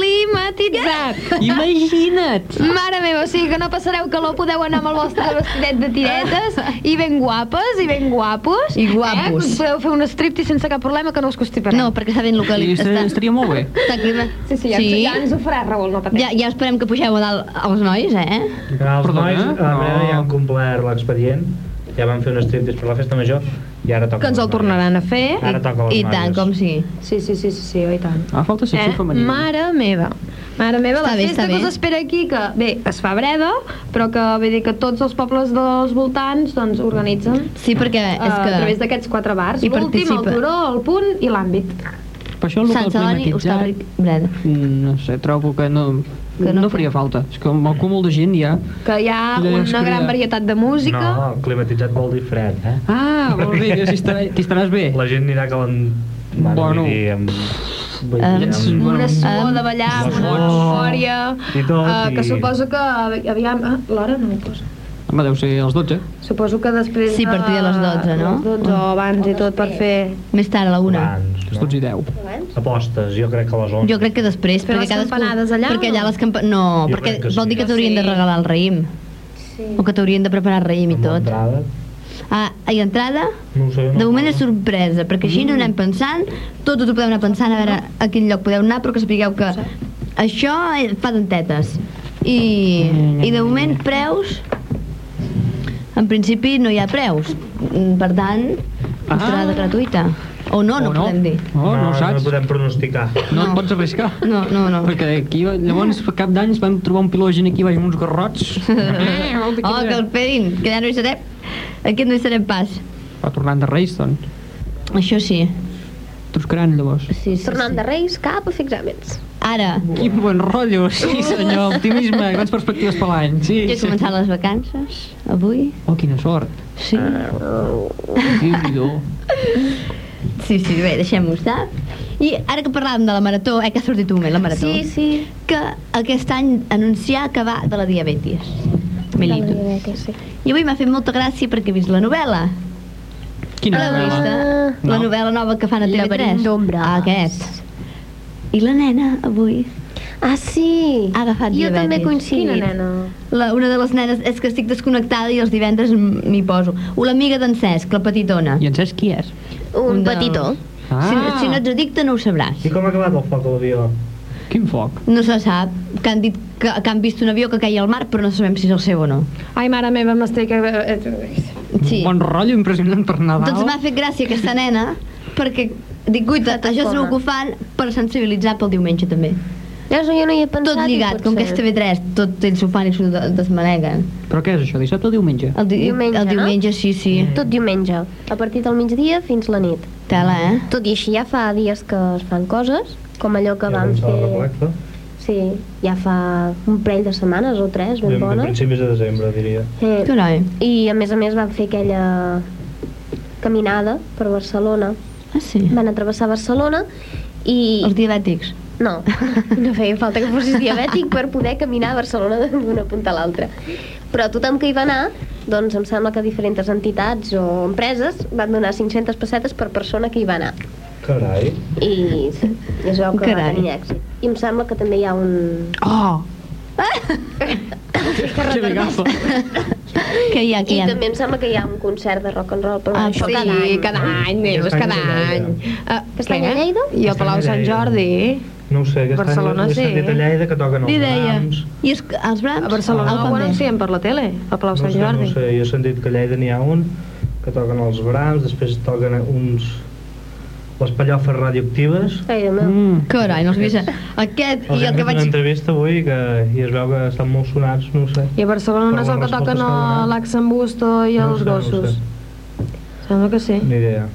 E: climatitzat.
C: Imagina't.
E: Mare meva, o sigui que no passareu calor, podeu anar amb el vostre vestidet de tiretes i ben guapes i ben guapos.
F: I guapos.
E: Eh? Podeu fer un stripti sense cap problema que no us constipareu.
F: No, perquè està ben
C: I
F: localitzat.
C: estaria, estaria molt bé.
F: Està clima...
E: Sí, sí, ja, sí. ja ens ho farà, Raül, no pateix.
F: Ja, ja esperem que pugeu a dalt els nois, eh?
B: Els
C: Perdona?
B: nois, a la
C: No.
B: Breda, ja han complert l'expedient, ja van fer un striptease per la festa major, i ara toca...
E: Que ens el
B: les noies.
E: tornaran a fer.
B: Ara toca les
F: I tant,
B: noies.
F: com sí.
E: Sí, sí, sí, sí, sí, oi tant.
C: Ah, falta secció
E: Eh?
C: femenina.
E: Mare meva. Mare meva,
F: Està
E: la
F: bé,
E: festa
F: està
E: que
F: bé.
E: us espera aquí, que bé, es fa a breda, però que vull dir que tots els pobles dels voltants doncs organitzen
F: Sí, perquè
E: eh,
F: és
E: a través
F: que
E: d'aquests quatre bars.
F: hi
E: L'últim, el
F: participa.
E: turó, el punt i l'àmbit.
C: Per això el
F: Sant
C: local
F: Celoni,
C: climatitzat...
F: Hostalric, Breda.
C: Mm, No sé, trobo que no,
F: Que
C: que
F: no
C: no, no faria falta. És que amb el cúmul de gent ja...
E: Que hi ha
C: Ja es
E: una
C: crea.
E: gran varietat de música.
B: No, climatitzat vol dir fred, eh?
C: Ah, vol dir que si estarà, que estaràs bé.
B: La gent anirà calent...
C: Bueno.
B: vull dir, amb... vull
F: Em-
B: dir, amb...
C: Mm.
E: Amb una suor
F: Em-
E: de ballar, amb una
B: Suor.
E: eufòria,
B: I tot,
E: eh, que
B: i-
E: suposo que aviam... Ah, l'hora no ho posa.
C: Home, deu ser als 12.
E: Suposo que després...
F: Sí, a partir de les 12, no?
E: Les 12 o abans i tot per fer...
F: Més tard, a la una.
B: Abans,
C: Les 12 i 10.
D: Abans?
B: Apostes, jo crec que a les 11.
F: Jo crec que després,
E: Però
F: perquè
E: les
F: cadascú...
E: campanades allà,
F: Perquè
E: o
F: allà
E: no?
F: les campa... No,
B: Jo
F: perquè
B: crec que sí.
F: vol dir que t'haurien de
E: Sí.
F: regalar el raïm.
D: Sí.
F: O que t'haurien de preparar el raïm i
B: Amb
F: tot.
B: entrada,
F: Ah, i entrada?
B: No ho sé, no
F: De moment
B: ho
F: és
B: sé.
F: sorpresa, perquè així
E: Mm.
F: no anem pensant, tot us ho podeu anar pensant, a veure a quin lloc podeu anar, però que sapigueu que això eh, fa dentetes. I, i de moment, preus... En principi no hi ha preus, Mm, per tant, entrada
C: Ah.
F: gratuïta. O no, no, podem dir.
C: Oh, no, ho saps.
B: No podem pronosticar.
C: No
F: No.
C: et pots arriscar.
F: No, no, no.
C: Perquè aquí, llavors, per cap d'any, ens vam trobar un piló de gent aquí baix amb uns garrots. Eh, vol dir que
F: Oh, que el pedin, que ja no hi serem. Aquest no hi serem pas.
C: Va tornant de Reis, doncs.
F: Això sí.
C: Truscaran, llavors.
F: sí, sí,
D: Tornant
F: sí.
D: de Reis cap a fer exàmens.
F: Ara,
C: Quin bon rotllo, sí senyor, optimisme, grans perspectives per l'any, sí.
F: ja he
C: sí.
F: començat les vacances, avui.
D: Ah.
C: Oh, quina sort.
F: Sí.
C: déu nhi
F: Sí, sí, bé, deixem-ho estar. I ara que parlàvem de la marató, eh, que ha sortit un moment la marató,
D: Sí, sí.
F: que aquest any anunciar que va de la diabetis.
D: De la
F: Mellitus.
D: diabetes, sí.
F: I avui m'ha fet molta gràcia perquè he vist la novel·la.
C: Quina
F: L'heu
C: novel·la?
F: vista? La
C: No.
F: novel·la nova que fan a TV3.
D: Laberint d'ombres.
F: Ah, aquest. I la nena, avui,
D: Ah, sí.
F: ha agafat
D: jo
F: diabetis.
D: també he
E: Quina
D: coincidit.
E: nena.
F: La, una de les nenes és que estic desconnectada i els divendres m- m'hi poso. O l'amiga d'en Cesc, la petitona.
C: I en Cesc qui és? Ah,
D: Un
F: Un de-
D: petitó.
F: Si, si no ets addicte no ho sabràs.
B: I com ha acabat el foc de l'avió?
C: Quin foc.
F: No se sap, que han dit que, que han vist un avió que caia al mar, però no sabem si és el seu o no.
E: Ai, mare meva, m'estic...
F: Sí.
C: Bon rotllo impressionant per Nadal.
F: Doncs m'ha fet gràcia aquesta nena, perquè dic, guita, això segur que ho fan per sensibilitzar pel diumenge també.
D: Ja jo no hi he pensat.
F: Tot lligat,
D: i
F: com que és
D: Doncs potser-
F: TV3, tot ells ho fan i s'ho de- desmaneguen.
C: Però què és això, dissabte o diumenge?
F: El, di
D: Diumenge,
F: el
D: no?
F: diumenge, sí, sí.
D: Tot diumenge, a partir del migdia fins la nit.
F: Tela, eh?
D: Tot i així ja fa dies que es fan coses, com allò que vam fer...
B: Reflexa.
D: Sí, ja fa un parell de setmanes o tres, ben
B: Ben, de
D: bones.
B: principis de desembre, diria.
D: Eh,
F: Carai.
D: I a més a més van fer aquella caminada per Barcelona.
F: Ah, sí?
D: Van atrevessar Barcelona i...
F: Els diabètics.
D: No, no feia falta que fossis diabètic per poder caminar a Barcelona d'una punta a l'altra. Però tothom que hi va anar, doncs em sembla que diferents entitats o empreses van donar 500 pessetes per persona que hi va anar.
B: Carai.
D: I sí, es veu que
F: Carai.
D: va tenir èxit. I em sembla que també hi ha un...
C: Oh! Que bé agafa.
F: Que hi ha, que hi
D: I
F: ha.
D: també em sembla que hi ha un concert de rock and roll. Però
F: Ah,
D: això
F: sí.
D: cada
E: Sí,
D: any.
E: cada any, Neus,
B: Aquest any
E: cada
B: a
E: any.
B: Lleida.
F: Eh,
E: Uh,
D: Aquest any a Lleida?
F: Mm,
E: I a Palau Sant Jordi.
B: No ho sé, aquest
E: Barcelona,
B: any he
E: sí.
B: sentit a Lleida que toquen els
F: Li deia.
B: Brahms.
F: I els, els brams?
E: A Barcelona Ah,
F: el
E: ho anuncien per la tele, a Palau
B: No
E: Sant
B: sé, no
E: Jordi.
B: sé, jo he sentit que a Lleida n'hi ha un que toquen els Brahms, després toquen uns... les pallofes radioactives.
D: Ai, Déu meu.
C: Mm.
F: Carai, no els vist. eh? Aquest
B: Els
F: i el
B: hem
F: que
B: fet
F: vaig...
B: una entrevista avui que, i es veu que estan molt sonats, no ho sé.
E: I a Barcelona no és
B: Però
E: el que
B: les respostes
E: toquen
B: que
E: a
B: donen.
E: l'Axambusto i
B: No ho
E: els
B: sé, no ho
E: gossos.
B: sé.
E: Sembla que sí.
B: Ni idea.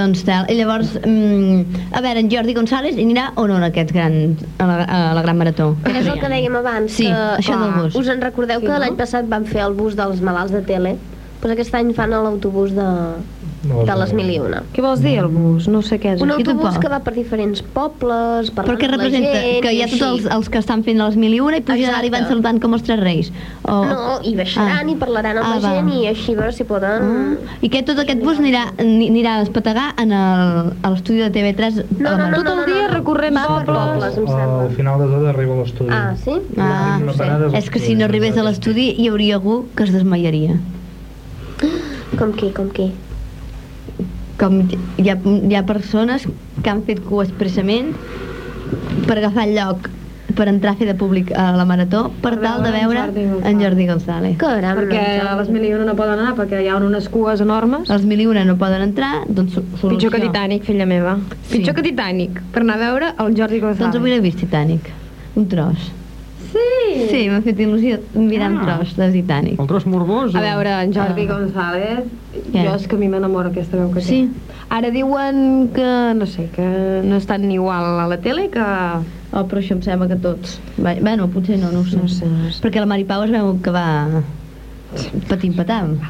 F: Doncs tal. I llavors, mm, a veure, en Jordi González anirà o no en aquest gran, a la, a la gran marató?
D: Però és el que dèiem abans,
F: Sí,
D: que,
F: això del bus.
D: us en recordeu
E: Sí,
D: que
E: no?
D: l'any passat van fer el bus dels malalts de tele, doncs aquest any fan a l'autobús de,
B: No
D: de
B: sé.
D: les mil i una.
E: Què vols dir, el bus? No sé què és.
D: Un
F: Jo
D: autobús
F: tampoc.
D: que va per diferents pobles,
F: Però
D: parlant
F: què
D: amb la
F: representa?
D: gent,
F: Que hi ha
D: i
F: tots els,
D: així.
F: els que estan fent les mil i una i pujaran i van
D: Exacte.
F: saludant com els tres reis. O...
D: No, i baixaran
F: Ah.
D: i parlaran amb
F: Ah,
D: la
F: va.
D: gent i així veure si poden...
F: Ah. I que tot aquest bus anirà, ni- anirà a espetegar en el- a l'estudi de TV3?
D: No, no, no,
E: Tot
D: no, no,
E: el dia
D: no.
E: recorrem
D: Va per
E: pobles.
D: pobles, em sembla.
B: Al final de tot arriba a l'estudi.
D: Ah, sí?
F: Ah,
B: Una parada a
F: és que si no arribés a l'estudi hi hauria algú que es desmaiaria.
D: Com qui, com qui?
F: Com hi ha, hi ha persones que han fet cua expressament per agafar el lloc per entrar a fer de públic a la marató per
E: Per
F: tal de
E: veure
F: veure
E: en Jordi
F: en Jordi González.
E: González.
D: Caram,
E: Perquè a les mil i una no poden anar, perquè hi ha unes cues enormes.
F: Els mil i una no poden entrar, doncs so- solució.
E: Pitjor que Titanic, filla meva.
F: Sí.
E: Pitjor que Titanic, per anar a veure el Jordi
F: Doncs avui
E: González.
F: l'he vist Titanic, un tros. Sí? Sí, m'ha fet il·lusió mirar ah. un
C: Ah.
F: tros de Titanic.
C: El tros morbós?
E: A veure, en Jordi
F: Ah.
E: González,
F: Què?
E: jo és que a mi m'enamora aquesta veu que té.
F: Sí.
E: Ara diuen que, no sé, que no estan ni igual a la tele que...
F: Oh, però això em sembla que tots... Va, bueno, potser no, no ho sé.
E: No sé, no sé.
F: Perquè la Mari Pau es veu que va patim patam.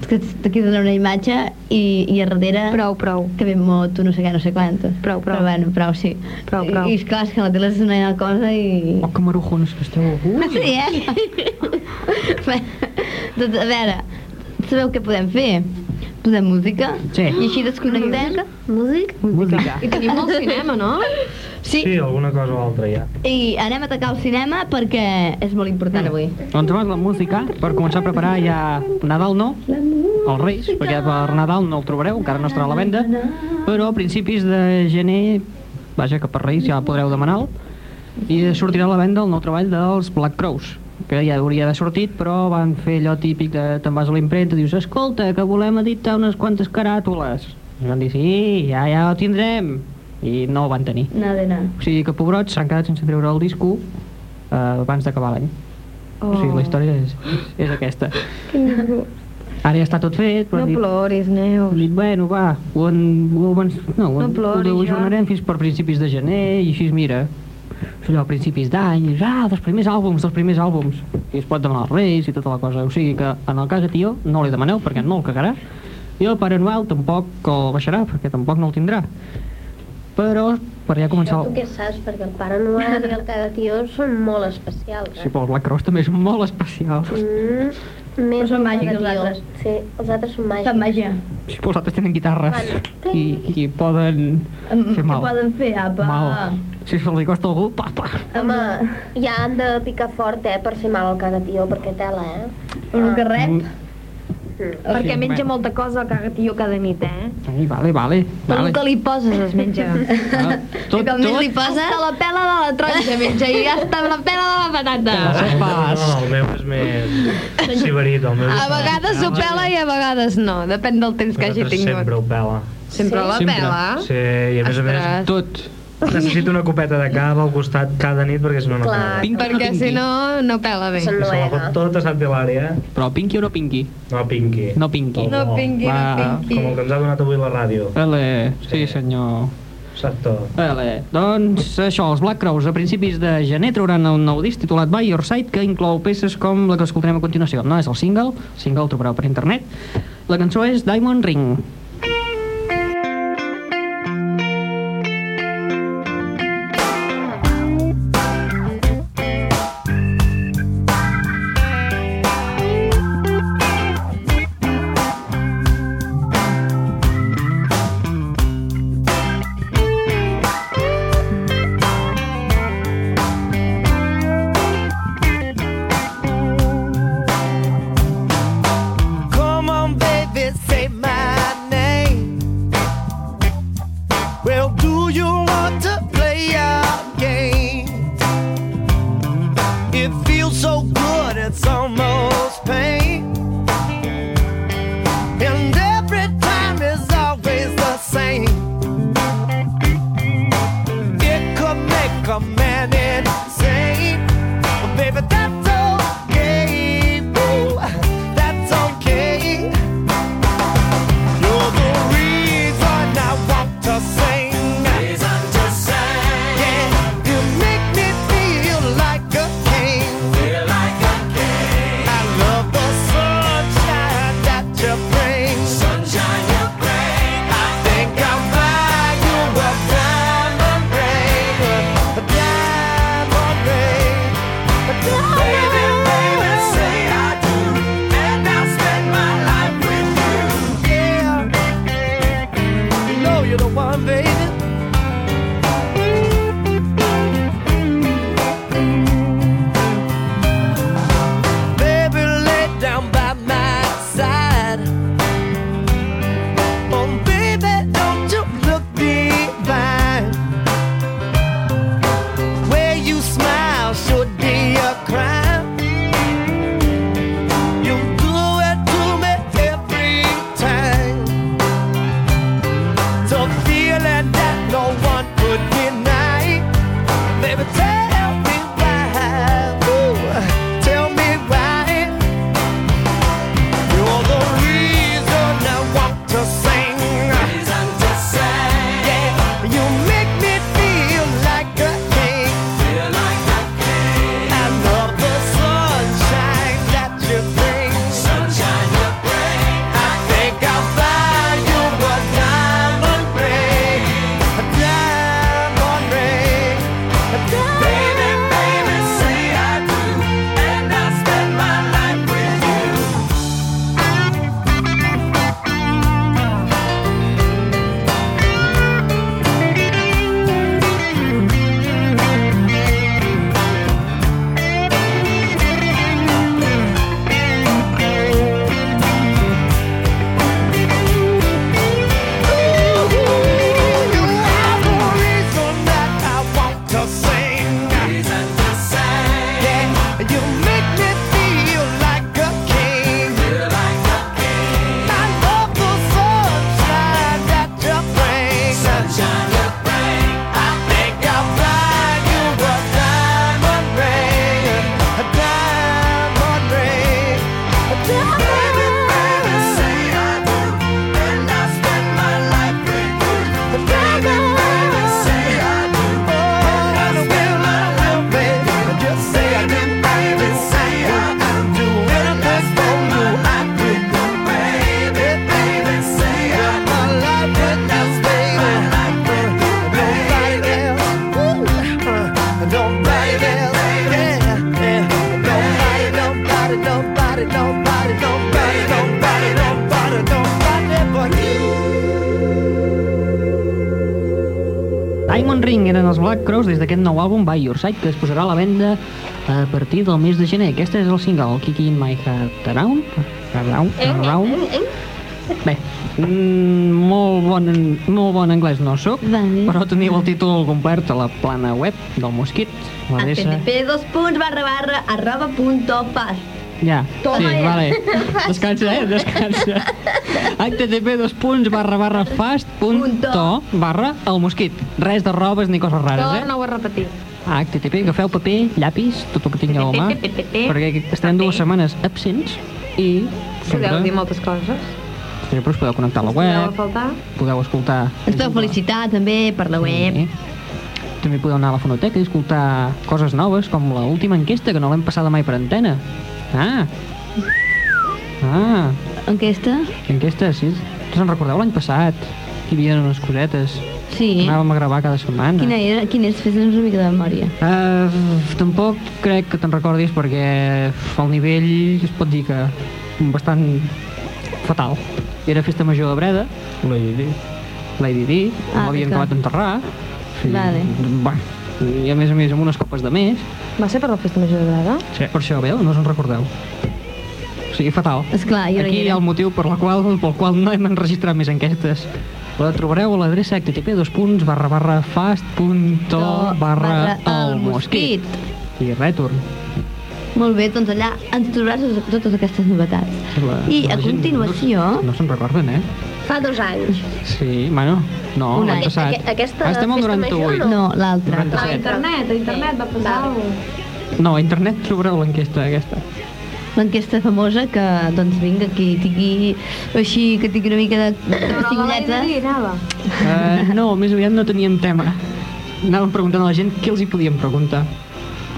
F: És que t'aquí donar una imatge i, i a darrere
E: Prou, prou.
F: que ve en moto, no sé què, no sé quantos.
E: Prou, prou.
F: Però bueno, prou, sí.
E: Prou, prou.
F: I, i esclar, és que la tele és una cosa i...
C: Oh, que marujones que esteu. Uh.
F: Sí, eh? Bé, doncs, a veure, sabeu què podem fer? Posem música
C: Sí.
F: i així desconnectem. Música?
C: Música.
E: I tenim molt cinema, no?
F: Sí,
B: Sí, alguna cosa o altra ja.
F: i anem a atacar el cinema perquè és molt important avui.
C: Doncs abans la música, per començar a preparar ja Nadal no, els Reis, perquè per Nadal no el trobareu, encara no estarà a la venda, però a principis de gener, vaja, que per Reis ja podreu demanar-lo, i sortirà a la venda el nou treball dels Black Crows, que ja hauria d'haver sortit, però van fer allò típic de te'n vas a l'impremta, dius, escolta, que volem editar unes quantes caràtules. I van dir, sí, ja, ja ho tindrem. I no ho van tenir.
F: No, de no.
C: O sigui que pobrots s'han quedat sense treure el disco eh, abans d'acabar l'any. Oh. O sigui, la història és, és aquesta. Ara ja està tot fet, però
E: No
C: han dit,
E: ploris, Neus.
C: han dit, bueno, va, ho, en, ho, en, no, ho,
E: No ploris,
C: ho, ho jornarem fins per principis de gener i així, mira, és allò, a principis d'any, i, ah, dels primers àlbums, dels primers àlbums, i es pot demanar els reis i tota la cosa, o sigui que en el cas de tio no li demaneu perquè no el cagarà, I el Pare Noel tampoc el baixarà, perquè tampoc no el tindrà. Però per ja començar...
D: Tu
C: El...
D: què saps? Perquè el Pare Noel i el cada tio són molt especials. eh?
C: Sí, però el Black Cross també és molt especial.
D: Mm, més
I: són
D: que el
I: màgics,
D: cada
I: els
D: tio.
I: altres.
D: Sí, els altres són màgics.
I: Fan màgia.
C: Sí, però els altres tenen guitarres i, i poden
I: Em-
C: fer
I: Què
C: mal.
I: poden fer? Apa.
C: Mal. Si se li costa algú, pa, pa.
D: Home, ja han de picar fort, eh, per fer mal al cagatió, perquè tela, eh?
I: Un que rep.
E: Perquè
C: Mm. Sí,
E: menja
C: bueno.
E: molta cosa el cagatio cada nit, eh?
C: Ai, vale, vale.
E: Tot
C: vale.
E: el que li poses es menja.
C: Ah,
F: I
C: Tot,
F: com més li
C: tot.
F: poses...
E: Hasta la pela de la taronja menja i hasta la pela de la patata.
C: Les set parts.
B: No, el meu és més siberit, el meu és...
E: A vegades ho pela i a vegades no, depèn del temps que hagi
B: Nosaltres
E: tingut.
B: sempre ho pela.
E: Sempre la
C: Sempre.
E: pela.
B: Sí, i a més a més
E: Ah? Ostres.
C: Tot.
B: necessito una copeta de cava al costat cada nit perquè si no no
D: Clar.
B: acaba.
C: Pinky o no
E: Perquè si
C: pinky?
E: no, no pela bé.
D: Són
B: Que se la
D: noega.
B: pot tota Sant Hilària.
C: Però pinky o no pinky?
B: No pinqui.
C: No pinky.
B: No
E: pingui,
C: Va.
B: Com el que ens ha donat avui la ràdio.
C: Ele, sí
B: Sí.
C: senyor.
B: Exacte.
C: Vale, doncs això, els Black Crowes a principis de gener trauran un nou disc titulat By Your Side que inclou peces com la que escoltarem a continuació. No és el single, el single el trobareu per internet. La cançó és Diamond Ring.
H: Come on, baby, say my name.
C: Diamond Ring eren els Black Crowes des d'aquest nou àlbum By Your Side que es posarà a la venda a partir del mes de gener. Aquest és el single, Kicking My Heart Around. Around, around. Bé, mm, molt, bon, molt bon anglès no sóc,
F: Vale.
C: però teniu el títol complet a la plana web del Mosquit.
F: Ah,
C: L'adreça...
I: http dos punts barra barra arroba punto pas.
C: Ja,
I: Toma,
C: sí,
I: ja.
C: vale. Descansa, eh? Descansa. http dos punts barra barra fast punt to barra el mosquit. Res de robes ni coses rares, eh?
G: Torna-ho a repetir.
C: HTTP, agafeu paper, llapis, tot el que tingueu a mà, perquè estem dues setmanes absents i
E: Podeu dir
C: sempre,
E: moltes coses.
C: sempre us podeu connectar a la
E: Podeu
C: web,
E: faltar.
C: podeu escoltar...
F: Ens podeu felicitar també per la web.
C: Sí. També podeu anar a la fonoteca i escoltar coses noves, com la última enquesta, que no l'hem passada mai per antena. Ah! Ah!
F: Aquesta?
C: Enquesta, sí. Se'n recordeu l'any passat? Hi havia unes cosetes.
F: Sí.
C: Anàvem a gravar cada setmana.
F: Quina era? Quina és? Fes-nos una mica de memòria.
C: Uh, tampoc crec que te'n recordis perquè el nivell es pot dir que bastant fatal. Era festa major de Breda,
B: Una llei.
C: Lady D,
F: Ah,
C: ah, l'havien
F: d'acord.
C: acabat d'enterrar. Sí.
F: Vale.
C: Bueno, i a més a més amb unes copes de més.
E: Va ser per la festa major de Breda?
C: Sí. Per això, veu, no us en recordeu. O sigui, fatal.
F: Esclar, jo no
C: Aquí
F: hi
C: hi ha
F: era.
C: el motiu per la qual, pel qual no hem enregistrat més enquestes. La trobareu a l'adreça http dos punts barra barra fast punto barra el mosquit. I retorn.
F: Molt bé, doncs allà ens trobaràs totes- totes aquestes novetats.
C: La,
F: I
C: la
F: a
C: gent
F: continuació-
C: No, no se'n recorden, eh?
D: Fa dos anys.
C: Sí, bueno, no,
F: Un
C: l'any
F: any.
C: passat.
D: Aque- aquesta
C: Ah, estem al
D: festa major
C: 98.
D: No.
F: No, l'altra.
C: 97.
G: A internet, a internet va posar-ho.
C: No, a internet trobareu l'enquesta aquesta.
F: L'enquesta famosa que, doncs, vinga, que tingui així, que tingui una mica de, de
G: Però la Laia
F: pessigolletes.
G: Didi anava.
C: Uh, no, més aviat no teníem tema. Anàvem preguntant a la gent què els hi podíem preguntar.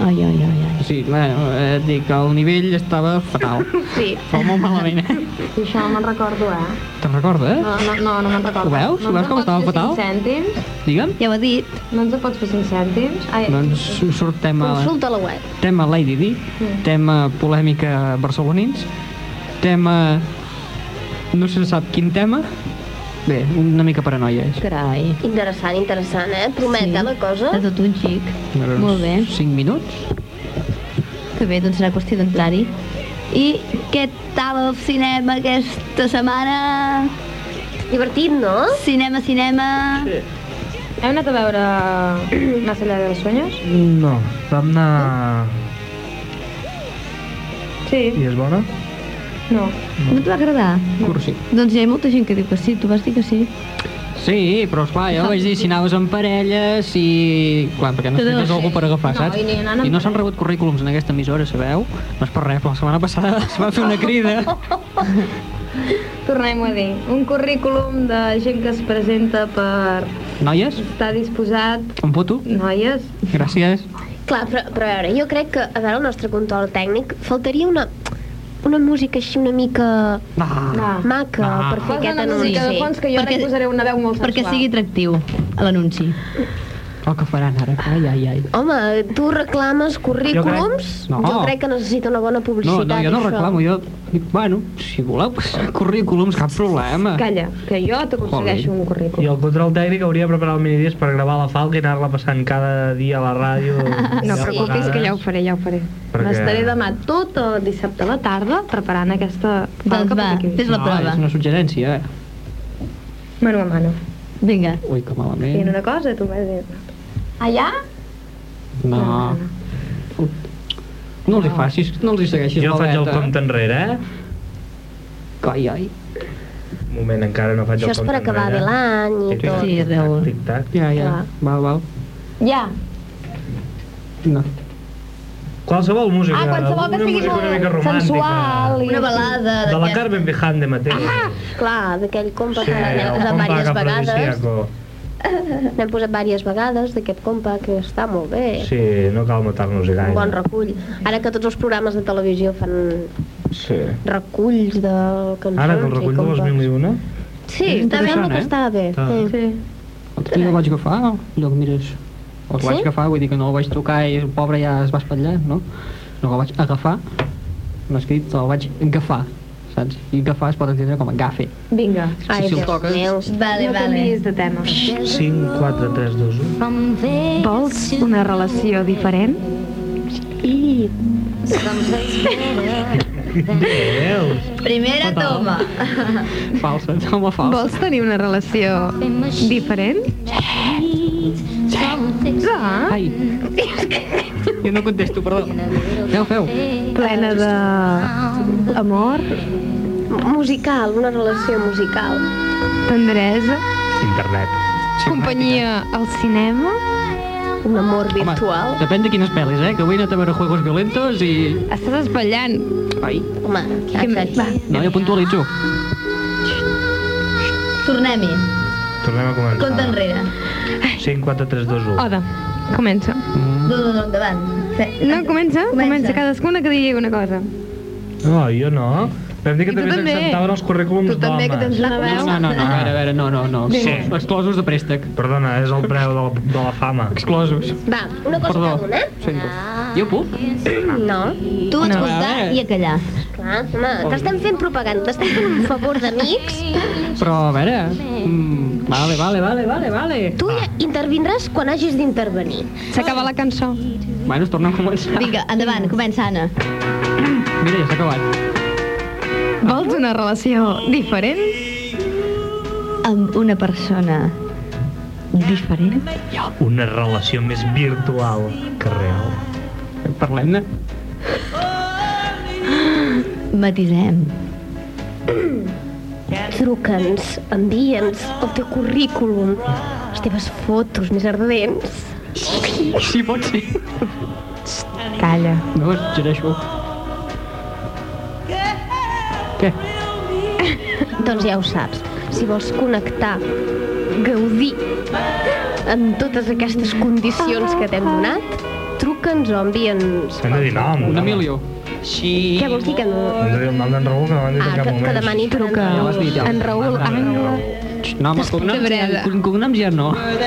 F: Ai, ai, ai, ai.
C: O sigui, bueno, eh, dic, el nivell estava fatal.
G: Sí.
C: Fa molt malament, eh?
G: I això no me'n recordo, eh?
C: Te'n recordes?
G: No, no, no, no me'n recordo.
C: Ho veus?
G: No
C: Ho veus
G: ens
C: com
G: en
C: estava
G: pots fer
C: fatal?
G: cinc cèntims?
C: Digue'm.
F: Ja ho ha dit.
G: No ens en pots fer 5 cèntims? Ai,
C: Doncs surt tema,
D: Consulta la web.
C: tema Lady Di, tema polèmica barcelonins, tema... no se sap quin tema. Bé, una mica paranoia, és.
F: Carai.
D: Interessant, interessant, eh? Promet,
F: Sí.
D: eh, la cosa?
F: De tot un xic.
C: Doncs
F: Molt bé.
C: 5 minuts.
F: Que bé, doncs serà qüestió d'entrar-hi. I què tal el cinema aquesta setmana?
D: Divertit, no?
F: Cinema, cinema...
G: hem anat a veure Más allá de los sueños?
B: No, vam anar...
G: Sí.
B: I és bona?
G: No.
F: No et va agradar?
C: Cursi.
F: Doncs hi ha molta gent que diu que sí, tu vas dir que sí.
C: Sí, però esclar, ja ho vaig dir, si anaves en parella, si... Clar, perquè no
F: Tot
C: tenies
F: no.
C: algú per agafar,
G: No,
C: saps?
G: i ni anant en
C: I no s'han rebut currículums en aquesta emissora, sabeu? No és per res, però la setmana passada es va fer una crida.
G: Tornem-ho a dir. Un currículum de gent que es presenta per
C: Noies,
G: estar disposat...
C: em foto?
G: Noies,
C: Gràcies.
D: Clar, però, però a veure, jo crec que, a veure, el nostre control tècnic, faltaria una, una música així una mica
C: Ah.
G: no.
D: maca
B: Ah.
D: per fer
G: Posa
D: aquest
G: una música de fons
D: anunci.
G: que jo ara hi
F: Perquè-
G: posaré una veu molt sensual.
F: Perquè sigui atractiu, a l'anunci.
C: El que faran ara, ai, ai, ai.
D: Home, tu reclames currículums?
C: No.
D: Jo crec que necessita una bona
C: No,
D: publicitat.
C: no, jo no
D: això.
C: reclamo, jo dic, bueno, si voleu passar currículums, cap problema.
E: Calla, que jo t'aconsegueixo un
B: I
E: currículum.
B: el control tècnic hauria de preparar el minidisc per gravar la falca i anar-la passant cada dia a la ràdio.
E: No
B: deu
E: preocupis, que ja ho
B: vegades.
E: faré, ja ho faré.
B: Perquè-
E: M'estaré demà tot el dissabte a la tarda preparant aquesta...
F: Doncs
E: falca
F: va,
E: perquè quedi.
F: fes la
C: no,
F: prova.
C: és una suggerència, eh?
E: Mano a mano.
F: Vinga,
C: Ui, que
E: Dient
C: malament.
E: una cosa, tu m'has dit...
G: Allà?
C: No. No els hi facis, no els hi segueixis
B: Jo
C: la
B: faig el
C: veta.
B: compte enrere, eh?
C: Ai, ai.
B: Un moment, encara no faig
D: Això
B: el
D: és
B: compte
D: per acabar bé
B: enrere.
D: l'any i
B: Tic-tac,
D: tot.
F: Sí,
B: tic-tac,
F: Raül.
B: tic-tac.
C: Ja, ja,
G: Ah.
C: val, val.
G: Ja.
C: No.
B: Qualsevol música.
G: Ah, qualsevol que
B: una
G: sigui
B: música una mica
G: molt
B: romàntica.
G: sensual. i-
F: una balada
B: De la
F: d'aquest...
B: Carmen Behan de Mateo. Ah,
D: Clar, d'aquell compa
B: sí,
D: que
B: el
D: n'hem posat
B: compact
D: diverses vegades.
B: afrodisíaco.
D: N'hem posat diverses vegades d'aquest compa que està molt bé.
B: Sí, no cal matar-nos-hi gaire.
D: Un bon recull. Ara que tots els programes de televisió fan
B: Sí.
D: reculls de cançons
B: Ara que el recull
D: i
B: de
D: comptes.
B: 2001,
D: Sí, està bé el
C: Interessant,
D: que
C: eh?
D: estava bé.
B: Està bé.
D: Sí.
C: L'altre dia el vaig agafar, allò que mires. El
D: Sí?
C: vaig agafar, vull dir que no el vaig trucar i el pobre ja es va espatllar, no? No el vaig agafar, no escrit, el vaig agafar. saps? I agafar es pot entendre com a gafe.
E: Vinga.
C: Ai, si el toques...
I: Vale, vale.
E: no canviïs de tema.
B: 5, 4, 3, 2,
E: Ah.
B: 1.
E: Vols una relació diferent? I...
B: Veus?
I: Primera toma.
C: Falsa, home, falsa.
E: Vols tenir una relació diferent? Ah,
C: Ai. Jo no contesto, perdó. Aneu, feu.
E: Eh, plena de amor,
D: Musical, una relació musical.
E: tendresa,
B: Internet.
E: companyia al cinema,
D: Un amor virtual.
C: Home, depèn de quines pel·lis, eh? Que avui no te veuré juegos violentos i...
E: estàs espatllant.
C: Ai,
D: Home,
E: Que me-
D: exacte.
E: Va,
C: no, jo puntualitzo.
I: Tornem-hi.
B: Tornem a començar.
I: Compte enrere.
B: 5, 4, 3, 2, 1.
E: Oda, comença.
I: No, no, no, endavant. Fe-
E: No, comença,
I: Comença.
E: comença cadascuna que digui una cosa.
B: No, jo no. Vam dir que
E: I tu
B: també
E: també.
B: s'acceptaven els currículums
E: Tu també, que
B: d'homes.
E: tens una
C: No,
E: veu.
C: no, no, no, a veure, a veure, no, no, no. Exclosos, exclosos de préstec.
B: Perdona, és el preu de la, de la fama.
C: Exclosos.
D: Va, una cosa
C: Perdó.
D: cada una.
C: Sento. Jo puc?
D: No,
F: Tu ets
C: No, a
F: buscar
D: Ah.
C: veure.
F: i a callar.
D: clar, home,
B: Oh.
D: t'estem fent propaganda, t'estem fent un favor d'amics.
C: Però, a veure... Mm, vale, vale, vale, vale, vale.
D: Tu ja intervindràs quan hagis d'intervenir.
E: S'acaba la cançó.
C: Bueno, es torna a començar.
F: Vinga, endavant, comença, Anna.
C: Mira, ja s'ha acabat.
E: Vols una relació diferent?
F: Amb una persona diferent?
B: Una relació més virtual que real.
C: Parlem-ne.
F: Matisem.
D: Truca'ns, envia'ns el teu currículum, les teves fotos més ardents.
C: Sí, pot ser.
E: Calla.
C: No, gereixo. Què?
D: Doncs ja ho saps, si vols connectar, gaudir en totes aquestes condicions que t'hem donat, truca'ns o envia'ns...
B: Hem de dir nom.
C: Un
B: no?
C: Emilio. Sí.
D: Què vols dir que no...
B: Hem de dir el nom d'en Raül que no l'han dit
D: Ah,
B: en cap
D: que, que
B: moment.
D: demani
E: Truca.
C: Ja ho has dit, ja.
E: En Raül Angle.
C: No, home, cognoms, ja,
E: breda.
C: cognoms ja no.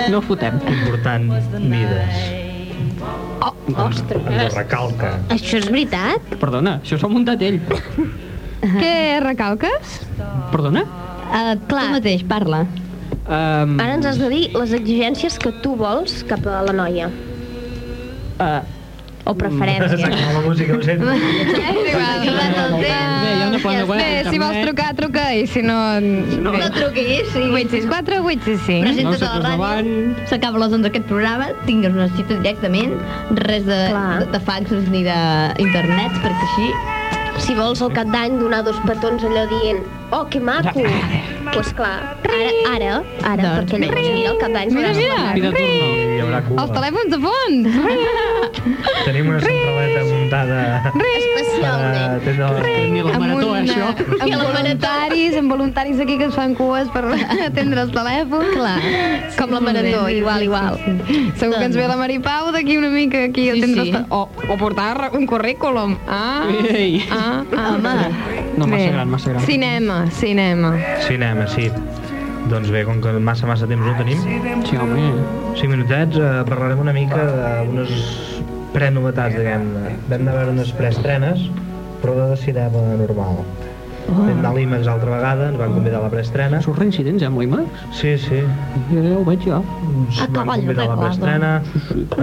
C: No fotem.
B: Important vides.
D: Oh,
B: Ens ho
D: ostres,
B: recalca.
D: això és veritat?
C: Perdona, això s'ho ha muntat ell.
E: Què recalques?
C: Perdona?
F: Uh, clar. Tu mateix, parla.
C: Um,
D: Ara ens has de dir les exigències que tu vols cap a la noia.
C: uh,
D: O preferències.
B: S'acaba la música, ho sento.
E: És igual.
C: bé, hi ha una plana web.
E: Bé, si vols trucar, truca, i si no...
C: No,
I: No truquis. sí.
E: 864,
I: Presenta-
E: 865.
C: no
I: Presenta't
C: sé,
I: a la ràdio.
C: endavant.
I: S'acaba les 11 d'aquest programa, tingues una cita directament, res de,
D: Clar.
I: de, de faxos ni d'internet, perquè així...
D: Si vols al cap d'any donar dos petons allò dient oh, que maco, doncs pues clar, ara, ara, ara
I: Doncs
D: perquè llavors mira al cap d'any
E: Mira,
D: s'hauràs de
C: Mira,
E: mira,
D: donar.
C: tu no.
B: Hi haurà
E: els
B: cua.
E: telèfons de fons.
B: Tenim una centraleta muntada per
D: Especialment.
B: atendre la
C: Ni la marató, eh, això.
E: Amb voluntaris, amb voluntaris aquí que es fan cues per atendre els telèfons. Clar,
I: com la marató, igual, igual.
E: Segur que ens
C: Doncs.
E: ve la Maripau d'aquí una mica aquí a
I: Sí,
E: atendre
I: sí.
E: els telèfons. O, o portar un currículum. Ah,
C: Ei.
E: ah, ah.
I: Home,
C: No, massa
E: Bé.
C: gran, massa gran.
E: Cinema, cinema.
B: Cinema, sí. Doncs bé, com que massa, massa temps no tenim,
C: Sí, home.
B: 5 minutets, eh, parlarem una mica d'unes prenovetats, diguem-ne. Vam anar a veure unes preestrenes, però de cinema
I: Oh.
B: normal. Vam anar a l'IMAX altra vegada, ens van convidar a la preestrena.
C: Surt reincidents, eh, amb l'IMAX?
B: Sí, sí,
C: Jo ja ho veig, jo.
B: ens
I: A
B: van
I: cavall,
B: convidar a la
I: recordo.
B: preestrena,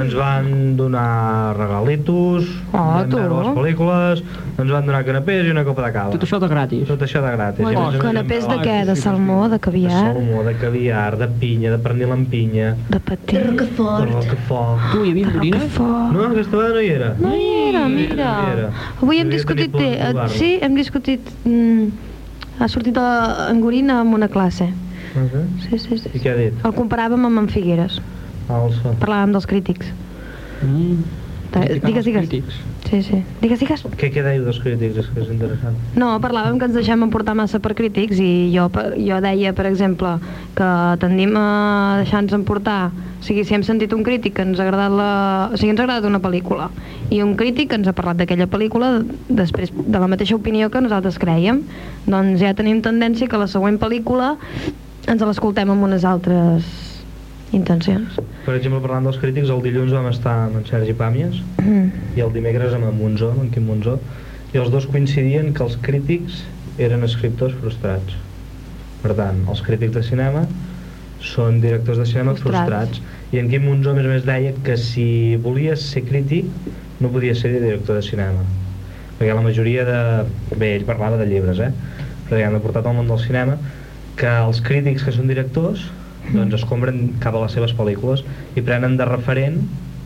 B: ens van donar regalitos,
I: Oh,
E: Ah,
B: vam anar a
E: tu.
B: les pel·lícules, ens van donar canapés i una copa de cava.
C: Tot això de gratis.
B: Tot això de gratis. I a més a més
E: Canapés
B: amb
E: de què? eh? De salmó, de
B: De
E: caviar,
B: salmó, de caviar, de pinya, de pernil amb pinya,
E: de patí.
B: de
I: Rocafort.
B: roquefort...
C: Tu, hi havia orina?
E: Fort.
B: No, aquesta vegada no hi era.
E: No hi era,
B: No hi era,
E: mira.
B: no hi era.
E: Avui hem
B: Devia
E: discutit...
B: tenir por de
E: eh,
B: trobar-lo.
E: sí, hem discutit... Mm, ha sortit a- en Gorina en una classe.
B: Uh
E: Sí, sí, sí.
B: I què ha dit? Ah,
E: El comparàvem amb en Figueres.
B: Alça.
E: Parlàvem dels crítics.
C: Mm.
E: Ta-
B: ah,
E: Digues, digues.
C: Crítics.
E: Sí, sí. Digues, digues.
B: Què, què deiu dels crítics? És que és interessant.
E: No, parlàvem que ens deixem emportar massa per crítics i jo, per- jo deia, per exemple, que tendim a deixar-nos emportar. O sigui, si hem sentit un crític que ens ha agradat, la... o sigui, ens ha agradat una pel·lícula i un crític que ens ha parlat d'aquella pel·lícula després de la mateixa opinió que nosaltres creiem, doncs ja tenim tendència que la següent pel·lícula ens l'escoltem amb unes altres intencions.
B: Per exemple, parlant dels crítics, el dilluns vam estar amb en Sergi Pàmies
E: Mm.
B: i el dimecres amb en Monzó, amb en Quim Monzó, i els dos coincidien que els crítics eren escriptors frustrats. Per tant, els crítics de cinema són directors de cinema
E: Frustrats.
B: frustrats. I en Quim Monzó, a més a més, deia que si volies ser crític, no podies ser director de cinema. Perquè la majoria de... Bé, ell parlava de llibres, eh? Però ja han portat al món del cinema que els crítics que són directors doncs es compren cap a les seves pel·lícules i prenen de referent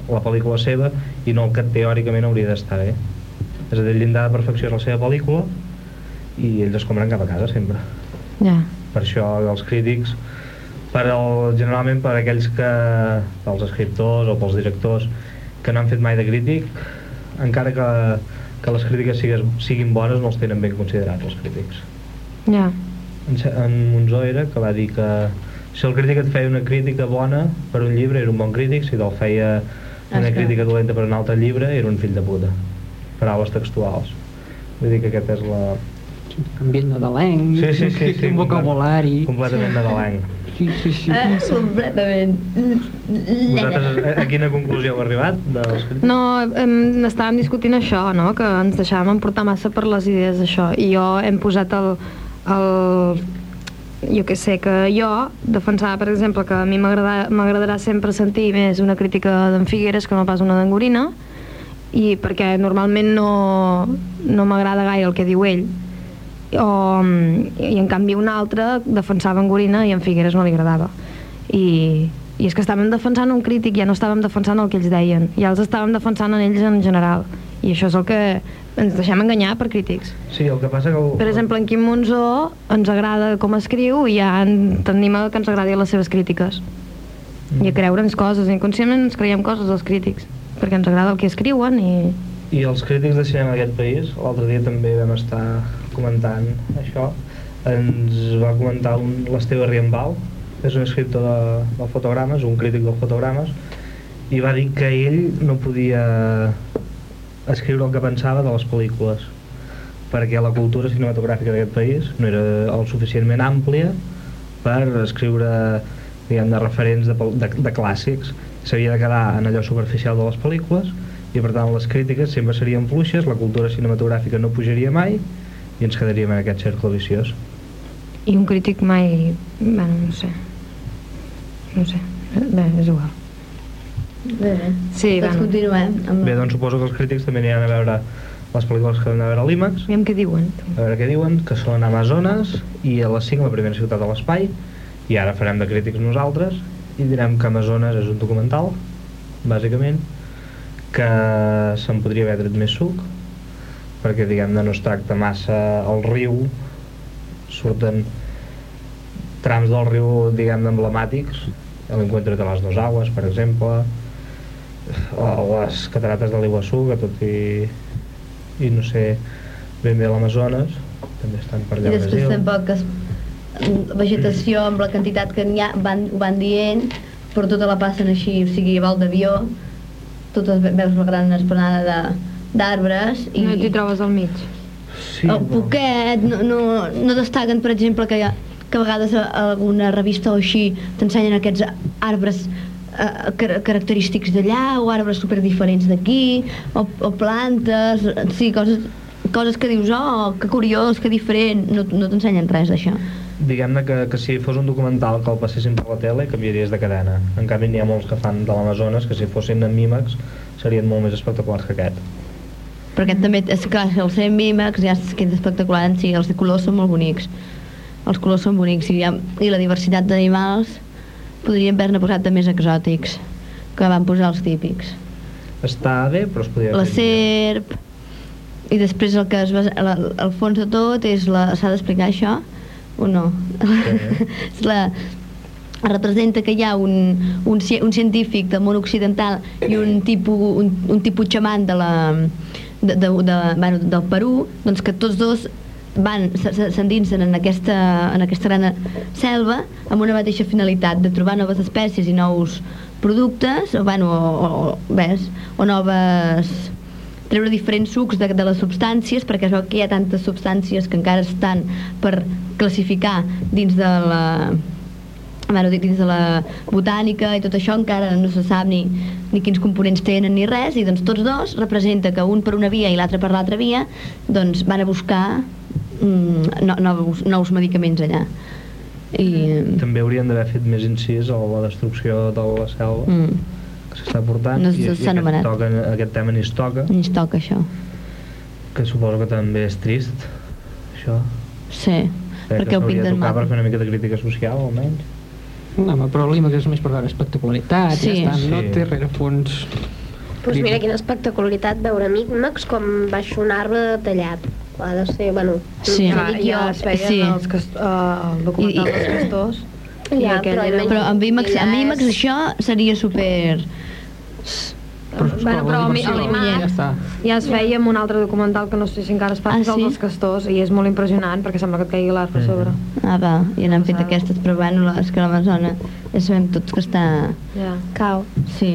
B: la pel·lícula seva i no el que teòricament hauria d'estar bé. És a dir, el llindar de perfecció és la seva pel·lícula i ells es compren cap a casa sempre.
E: Ja.
B: Per això els crítics, per el, generalment per aquells que, pels escriptors o pels directors que no han fet mai de crític, encara que, que les crítiques sigues, siguin bones no els tenen ben considerats els crítics.
E: Ja.
B: En, Se- en Monzó era que va dir que si el crític et feia una crítica bona per un llibre era un bon crític, si te'l feia una
J: Esclar.
B: crítica dolenta per un altre llibre era un fill de puta. Paraules textuals. Vull dir que aquest és la...
C: Ambient nadalenc,
B: Sí, sí, sí, sí,
C: un vocabulari...
B: completament nadalenc.
C: Sí, sí, sí.
F: Eh, completament.
B: Vosaltres, eh, a, a quina conclusió heu arribat? Dels...
E: No, hem, estàvem discutint això, no? Que ens deixàvem emportar massa per les idees d'això. I jo hem posat el... el jo que sé, que jo defensava, per exemple, que a mi m'agrada- m'agradarà sempre sentir més una crítica d'en Figueres que no pas una d'Angorina, i perquè normalment no, no m'agrada gaire el que diu ell. O, mm, I en canvi un altre defensava en Gorina i en Figueres no li agradava. I, I és que estàvem defensant un crític, ja no estàvem defensant el que ells deien, ja els estàvem defensant en ells en general. I això és el que ens deixem enganyar per crítics.
B: Sí, el que passa que... El...
E: Per exemple, en Quim Monzó ens agrada com escriu i ja en- tendim a que ens agradi les seves crítiques. I a creure'ns coses, inconscientment ens creiem coses dels crítics, perquè ens agrada el que escriuen i...
B: I els crítics de cinema d'aquest país, l'altre dia també vam estar comentant això, ens va comentar un- l'Esteve Riembau, que és un escriptor de, de fotogrames, un crític de fotogrames, i va dir que ell no podia escriure el que pensava de les pel·lícules, perquè la cultura cinematogràfica d'aquest país no era el suficientment àmplia per escriure diguem, de referents de, pel- de, de clàssics. S'havia de quedar en allò superficial de les pel·lícules i per tant les crítiques sempre serien fluixes, la cultura cinematogràfica no pujaria mai i ens quedaríem en aquest cercle viciós.
E: I un crític mai... Bueno, no sé. No sé. Bé, és igual.
F: Bé, bé.
E: Sí,
F: Doncs
E: bueno.
F: continuem. Amb...
B: Bé, doncs suposo que els crítics també aniran a veure les pel·lícules que van a veure a l'IMAX,
E: Aviam què diuen.
B: a veure què diuen, que són Amazones i a les 5 la primera ciutat de l'espai i ara farem de crítics nosaltres i direm que Amazones és un documental bàsicament que se'n podria haver tret més suc perquè diguem-ne no es tracta massa el riu surten trams del riu diguem-ne emblemàtics l'encuentro de les dos aguas per exemple o les catarates de l'Iguassú que tot i i no sé ben bé l'Amazones també estan per
F: I
B: allà a
F: després
B: Brasil
F: tampoc es, vegetació amb la quantitat que n'hi ha, van, ho van dient, però tota la passen així, o sigui, a vol d'avió, totes ve- veus la gran esplanada de- d'arbres
E: I...
F: i
E: No t'hi trobes al mig.
B: sí,
F: el
B: però-
F: poquet, no, no, no destaquen, per exemple, que, hi ha- que a vegades a alguna revista o així t'ensenyen aquests arbres eh, car- característics d'allà o arbres super diferents d'aquí o, o plantes, sí, coses, coses que dius, oh, que curiós, que diferent, no, no t'ensenyen res d'això.
B: diguem-ne que, que si fos un documental que el passessin per la tele canviaries de cadena en canvi n'hi ha molts que fan de l'Amazones que si fossin en Mímax serien molt més espectaculars que aquest
F: Però aquest també, és clar, si el ser mímex ja és que és espectacular en si, els colors són molt bonics. Els colors són bonics i, hi ha, i la diversitat d'animals podrien haver-ne posat de més exòtics que van posar els típics.
B: està bé però es podria haver
F: La
B: fet millor.
F: serp, i després el que es basa, la, el fons de tot és la... S'ha d'explicar això o no?
B: Sí.
F: és la, representa que hi ha un, un, ci- un científic del món occidental i un tipus, un, un tipus xaman de la, de, de, de, bueno, del Perú, doncs que tots dos van, se- se- s'endinsen en aquesta, en aquesta gran selva amb una mateixa finalitat de trobar noves espècies i nous productes o, bueno, o, o, ves, o noves treure diferents sucs de, de les substàncies perquè es veu que hi ha tantes substàncies que encara estan per classificar dins de la, bueno, dic, dins de la botànica i tot això encara no se sap ni, ni quins components tenen ni res i doncs tots dos representa que un per una via i l'altre per l'altra via doncs van a buscar mm, no, nous, nous medicaments allà. I,
B: També haurien d'haver fet més incís a la destrucció de la selva
F: mm,
B: que s'està portant
F: No
B: i, i
F: s'ha
B: aquest,
F: anomenat.
B: toca, aquest tema ni es toca,
F: ens toca això.
B: que suposo que també és trist, això.
F: Sí,
B: Crec
F: perquè
B: que
F: ho
B: s'hauria de
F: pinten
B: tocar per
F: mal.
B: fer una mica de crítica social, almenys.
C: No, home, però l'IMAX és més per veure espectacularitat, sí.
F: Sí.
C: ja està, no
B: Sí.
C: té rerefons.
D: Pues mira quina espectacularitat veure Micmacs com baixa un arbre tallat. Ha de ser, bueno...
F: Sí.
D: no
E: Ja, Ah,
D: dic
E: ja
D: jo.
E: es veien
F: Sí.
E: sí. els cast, uh, el documental dels castors.
D: Ja,
E: aquell
D: però,
E: era-
D: imagina't
F: Però amb IMAX,
D: que ja
F: amb IMAX
D: és-
F: això seria super...
C: Però, és
E: Bueno,
C: com
E: però
C: la
E: a mi-
C: diversió,
E: a l'IMAX-
C: ja està.
E: Ja es feia amb un altre documental que no sé si encara es fa,
F: Ah,
E: que és el
F: sí?
E: dels castors, i és molt impressionant perquè sembla que et caigui
C: Mm-hmm.
E: l'arbre a sobre.
F: Ah, va, i n'han fet aquestes, però bueno, la- és que l'Amazona ja sabem tots que està...
E: Ja.
F: Cau. Sí,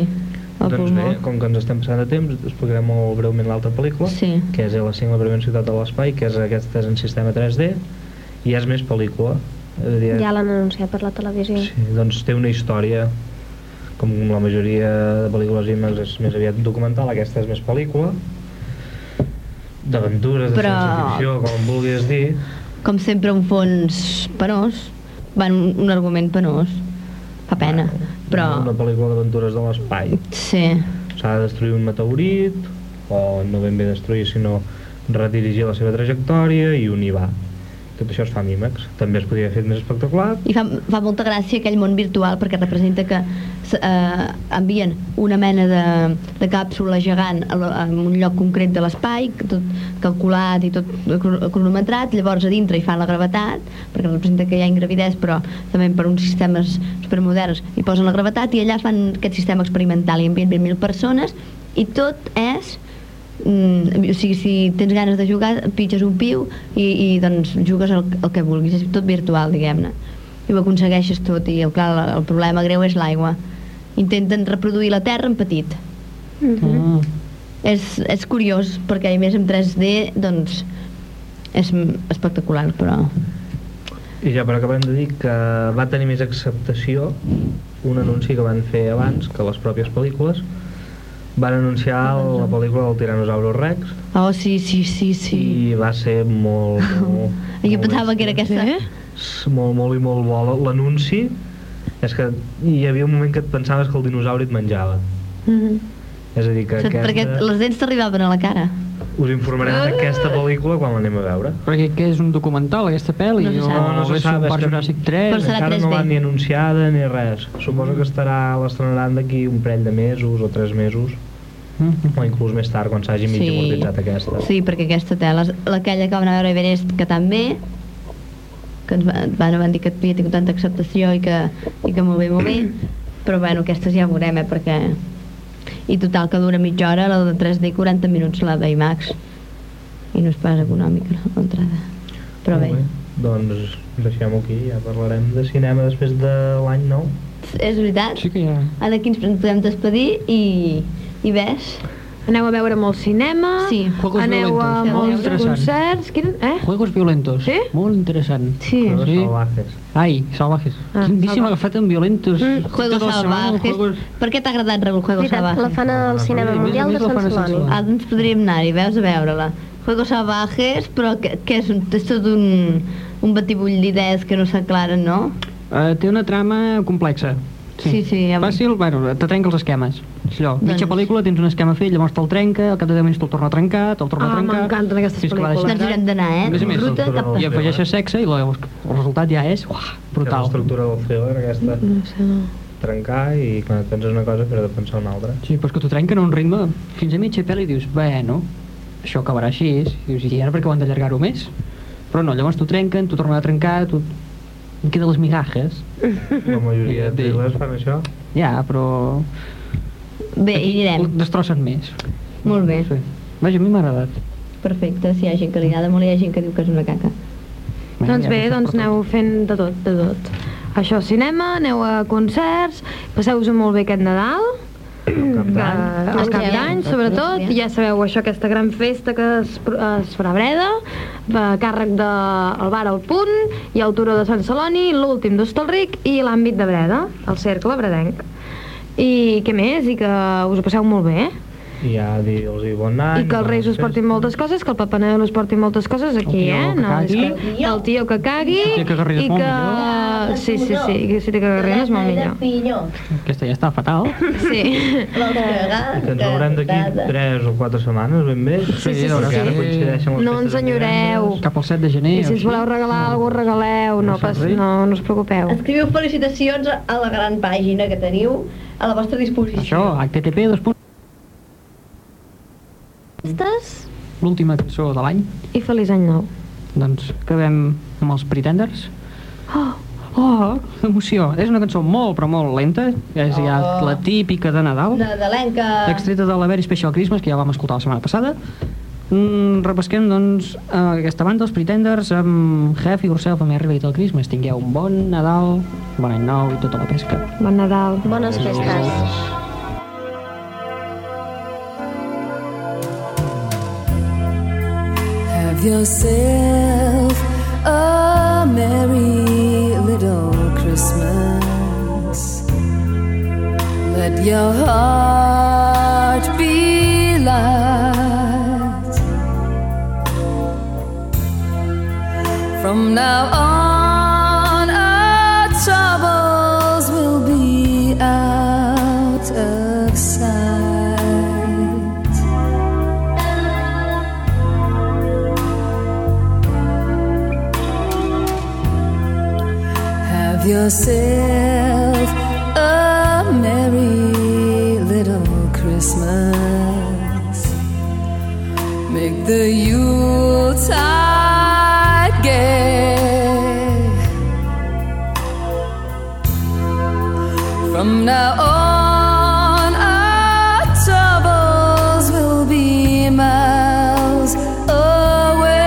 F: al
B: doncs
F: pulmó.
B: bé, com que ens estem passant de temps, explicarem molt breument l'altra pel·lícula,
F: Sí.
B: que és L5, la primera ciutat de l'espai, que és aquesta és en sistema 3D, i és més pel·lícula. És a dir,
D: Ja l'han anunciat per la televisió.
B: sí, doncs té una història, com la majoria de pel·lícules IMAX és més aviat documental, aquesta és més pel·lícula, d'aventures, de
F: Però-
B: ciència-ficció, com en vulguis dir,
F: Com sempre, un fons penós, van un, un argument penós. Fa pena,
B: una
F: però...
B: pel·lícula d'aventures de l'espai.
F: Sí,
B: s'ha de destruir un meteorit o no ben bé destruir sinó redirigir la seva trajectòria i unir va tot això es fa amb IMAX també es podria haver fet més espectacular
F: i fa, fa molta gràcia aquell món virtual perquè representa que s- eh, envien una mena de, de càpsula gegant a, la, a un lloc concret de l'espai, que tot calculat i tot cro- cronometrat, llavors a dintre hi fan la gravetat, perquè representa que hi ha ingravidès, però també per uns sistemes supermoderns hi posen la gravetat i allà fan aquest sistema experimental i envien 20.000 persones i tot és Mm, o sigui, si tens ganes de jugar, pitges un piu i, i doncs jugues el, el que vulguis, és tot virtual, diguem-ne. I ho aconsegueixes tot, i el, clar, el, el problema greu és l'aigua. Intenten reproduir la Terra en petit.
C: Ah.
F: És, és curiós, perquè a més en 3D, doncs, és m- espectacular, però...
B: i ja per acabar hem de dir que va tenir més acceptació un anunci que van fer abans que les pròpies pel·lícules van anunciar la pel·lícula del Tiranosaurus Rex
F: Oh, sí, sí, sí, sí.
B: i va ser molt, molt,
F: I jo
B: molt
F: pensava que era aquesta...
E: Sí?
B: És molt, molt i molt bo l'anunci és que hi havia un moment que et pensaves que el dinosauri et menjava és a dir que
F: Mm-hmm. Saps? Perquè
B: aquesta,
F: les dents t'arrivaven a la cara.
B: us informarem
F: Ah!
B: d'aquesta pel·lícula quan l'anem a veure
C: Perquè què és un documental, aquesta pel·li?
F: No se
C: o
F: sap.
B: No, no se
C: és
B: sap,
C: un
B: és
C: Parc
B: que-
C: Juràssic 3?
F: Però serà
B: encara no
F: 3D.
B: l'han ni anunciada ni res suposo que estarà l'estrenaran d'aquí un parell de mesos o tres mesos
C: Mhm.
B: o inclús més tard quan s'hagi mig
F: Mm-hmm. Sí.
B: amortitzat aquesta
F: Sí, perquè aquesta tela, és aquella que van veure a Everest, que també, que ens va- van, van dir que havia tingut tanta acceptació i que, i que molt bé, molt bé, però bueno, aquestes ja veurem, eh, perquè... I total, que dura mitja hora, la de 3D, 40 minuts, la d'IMAX. I no és pas econòmica, l'entrada. Però bé,
B: Molt doncs deixem-ho aquí ja parlarem de cinema després de l'any nou
F: és veritat.
C: Sí que ja...
F: Ara aquí ens podem despedir i, i ves.
E: Aneu a veure molt cinema,
F: Sí.
C: Juegos
E: aneu a
C: violentos, eh? molt
E: molts
C: interessant.
E: concerts... Quin... Eh?
C: Juegos violentos.
E: Sí?
C: Molt interessant.
E: Sí.
B: Coses
C: Sí.
B: salvajes.
C: Ai, salvajes.
E: Ah,
C: Ah, Quindíssim
E: salva-
C: agafat en violentos. Mm,
F: Juegos salvajes. Per què t'ha agradat, Raül, Juegos
D: Veritat, la
F: salvajes?
D: fan al Cinema
C: Mira,
D: Mundial de
C: mira, la fan
D: Sant
C: a Sant
D: Celoni.
C: Celoni.
F: Ah, doncs podríem anar-hi, veus, a veure-la. Juegos salvajes, però que, que és, un, és tot un, un batibull d'idees que no s'aclaren, no?
C: Uh, té una trama complexa.
F: Sí, sí, ja-
C: Fàcil, bueno, te trenca els esquemes. És allò, mitja
F: Doncs-
C: pel·lícula tens un esquema fet, llavors te'l trenca, al cap de 10 minuts te'l torna a trencar, te'l torna
E: Ah,
C: a trencar...
E: m'encanten aquestes
C: fins que va
E: pel·lícules.
F: Doncs hi
C: deixant-
F: hem d'anar, eh?
C: A més a més,
F: Ruta cap...
C: I afegeixes sexe i la- el resultat ja és uah,
B: Que és
C: brutal.
B: l'estructura del thriller aquesta no sé, no. trencar i quan et penses una cosa però de pensar una altra
C: Sí, però és que t'ho trenquen a un ritme fins a mitja pel·li i dius, bueno, això acabarà així, i dius, i ara per què ho han d'allargar-ho més? Però no, llavors t'ho trenquen, t'ho tornen a trencar, t'ho... Em queden les migajes.
B: la majoria de thrillers fan això
C: Ja, però...
F: Bé, hi
C: Ho
F: anirem.
C: destrossen més.
F: Molt bé,
C: Sí. Vaja, a mi m'ha agradat.
F: perfecte. Si hi ha gent que li agrada molt, hi ha gent que diu que és una caca.
E: Doncs
C: ja
E: bé,
C: passem
E: doncs
C: per tot.
E: aneu fent de tot, de tot. Això, cinema, aneu a concerts, passeu-vos molt bé aquest Nadal,
B: Cap
E: que,
B: d'any.
E: el cap d'any sobretot,
F: Mengem.
E: i ja sabeu això, aquesta gran festa que es, pro- es farà a Breda, a càrrec del de, el bar El Punt, i el Turó de Sant Celoni, l'últim d'Hostalric i l'àmbit de Breda, el cercle bredenc. I què més? I que us ho passeu molt bé. eh?
B: I ja dir, els diu bon any.
E: I que els reis us portin moltes coses, que el Papa Noel us porti moltes coses aquí,
C: tio
E: eh?
C: que
E: No, és
C: cagui.
E: que el tio que cagui
C: El tio que garri és
E: i
C: molt
E: que...
C: millor.
E: Ah, Sí, sí, sí, que si té que garri és molt millor.
C: Aquesta ja està fatal.
E: Sí.
B: I que ens veurem d'aquí 3 o 4 setmanes, ben bé.
C: Sí, sí, sí,
B: Ara
C: sí.
B: coincideixen les
E: No
B: festes
E: ens
B: de divendres.
E: enyoreu.
C: Cap al 7 de gener.
E: I si
C: o
E: ens voleu
C: així.
E: regalar alguna cosa, regaleu, no, pas, no, no us preocupeu.
I: Escriviu felicitacions a la gran pàgina que teniu a la vostra disposició.
C: Això, HTTP, dos punts. L'última cançó de l'any.
E: I feliç any nou.
C: Doncs acabem amb els Pretenders. Oh, oh, emoció. És una cançó molt, però molt lenta. És ja la típica de Nadal.
I: Nadalenca.
C: extreta de la Very Special Christmas, que ja vam escoltar la setmana passada. Mm, repesquem, doncs, eh, aquesta banda, els Pretenders, amb Have Yourself a Merry Little Christmas. Tingueu un bon Nadal, bon any nou i tota la pesca.
E: Bon Nadal.
D: Bones festes.
K: Have yourself a merry little Christmas. Let your heart be light. From now on, our troubles will be out of sight. Have yourself a merry little Christmas. Make the Yuletide gay. From now on, our troubles will be miles away.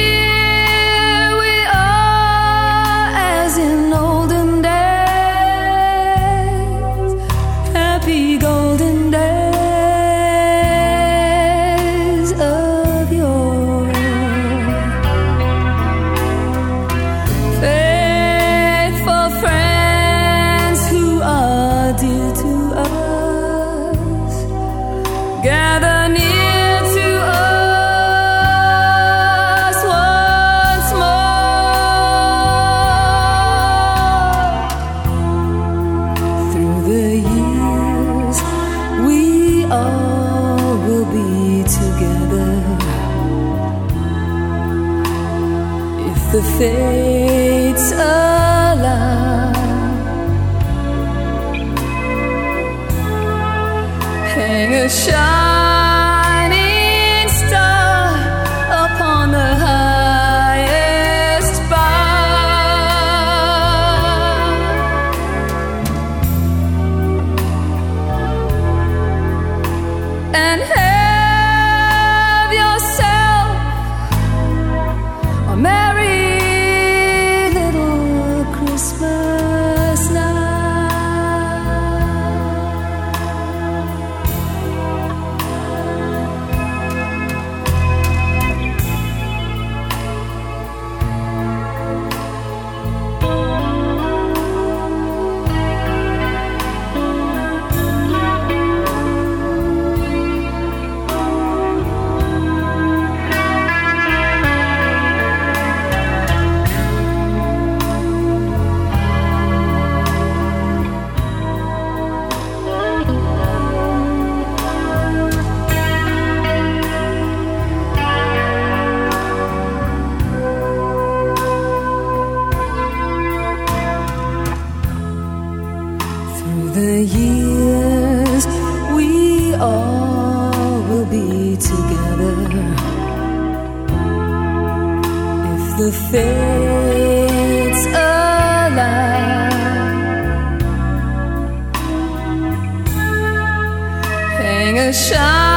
K: Here we are as in olden days, happy golden days of yore. Faithful friends who are dear to us gather near to us once more. Through the years, we all will be together. If the fates allow. hang a shining star upon the highest bough. And have yourself a merry little Christmas night. Through the years, we all will be together. If the fates allow, hang a shine.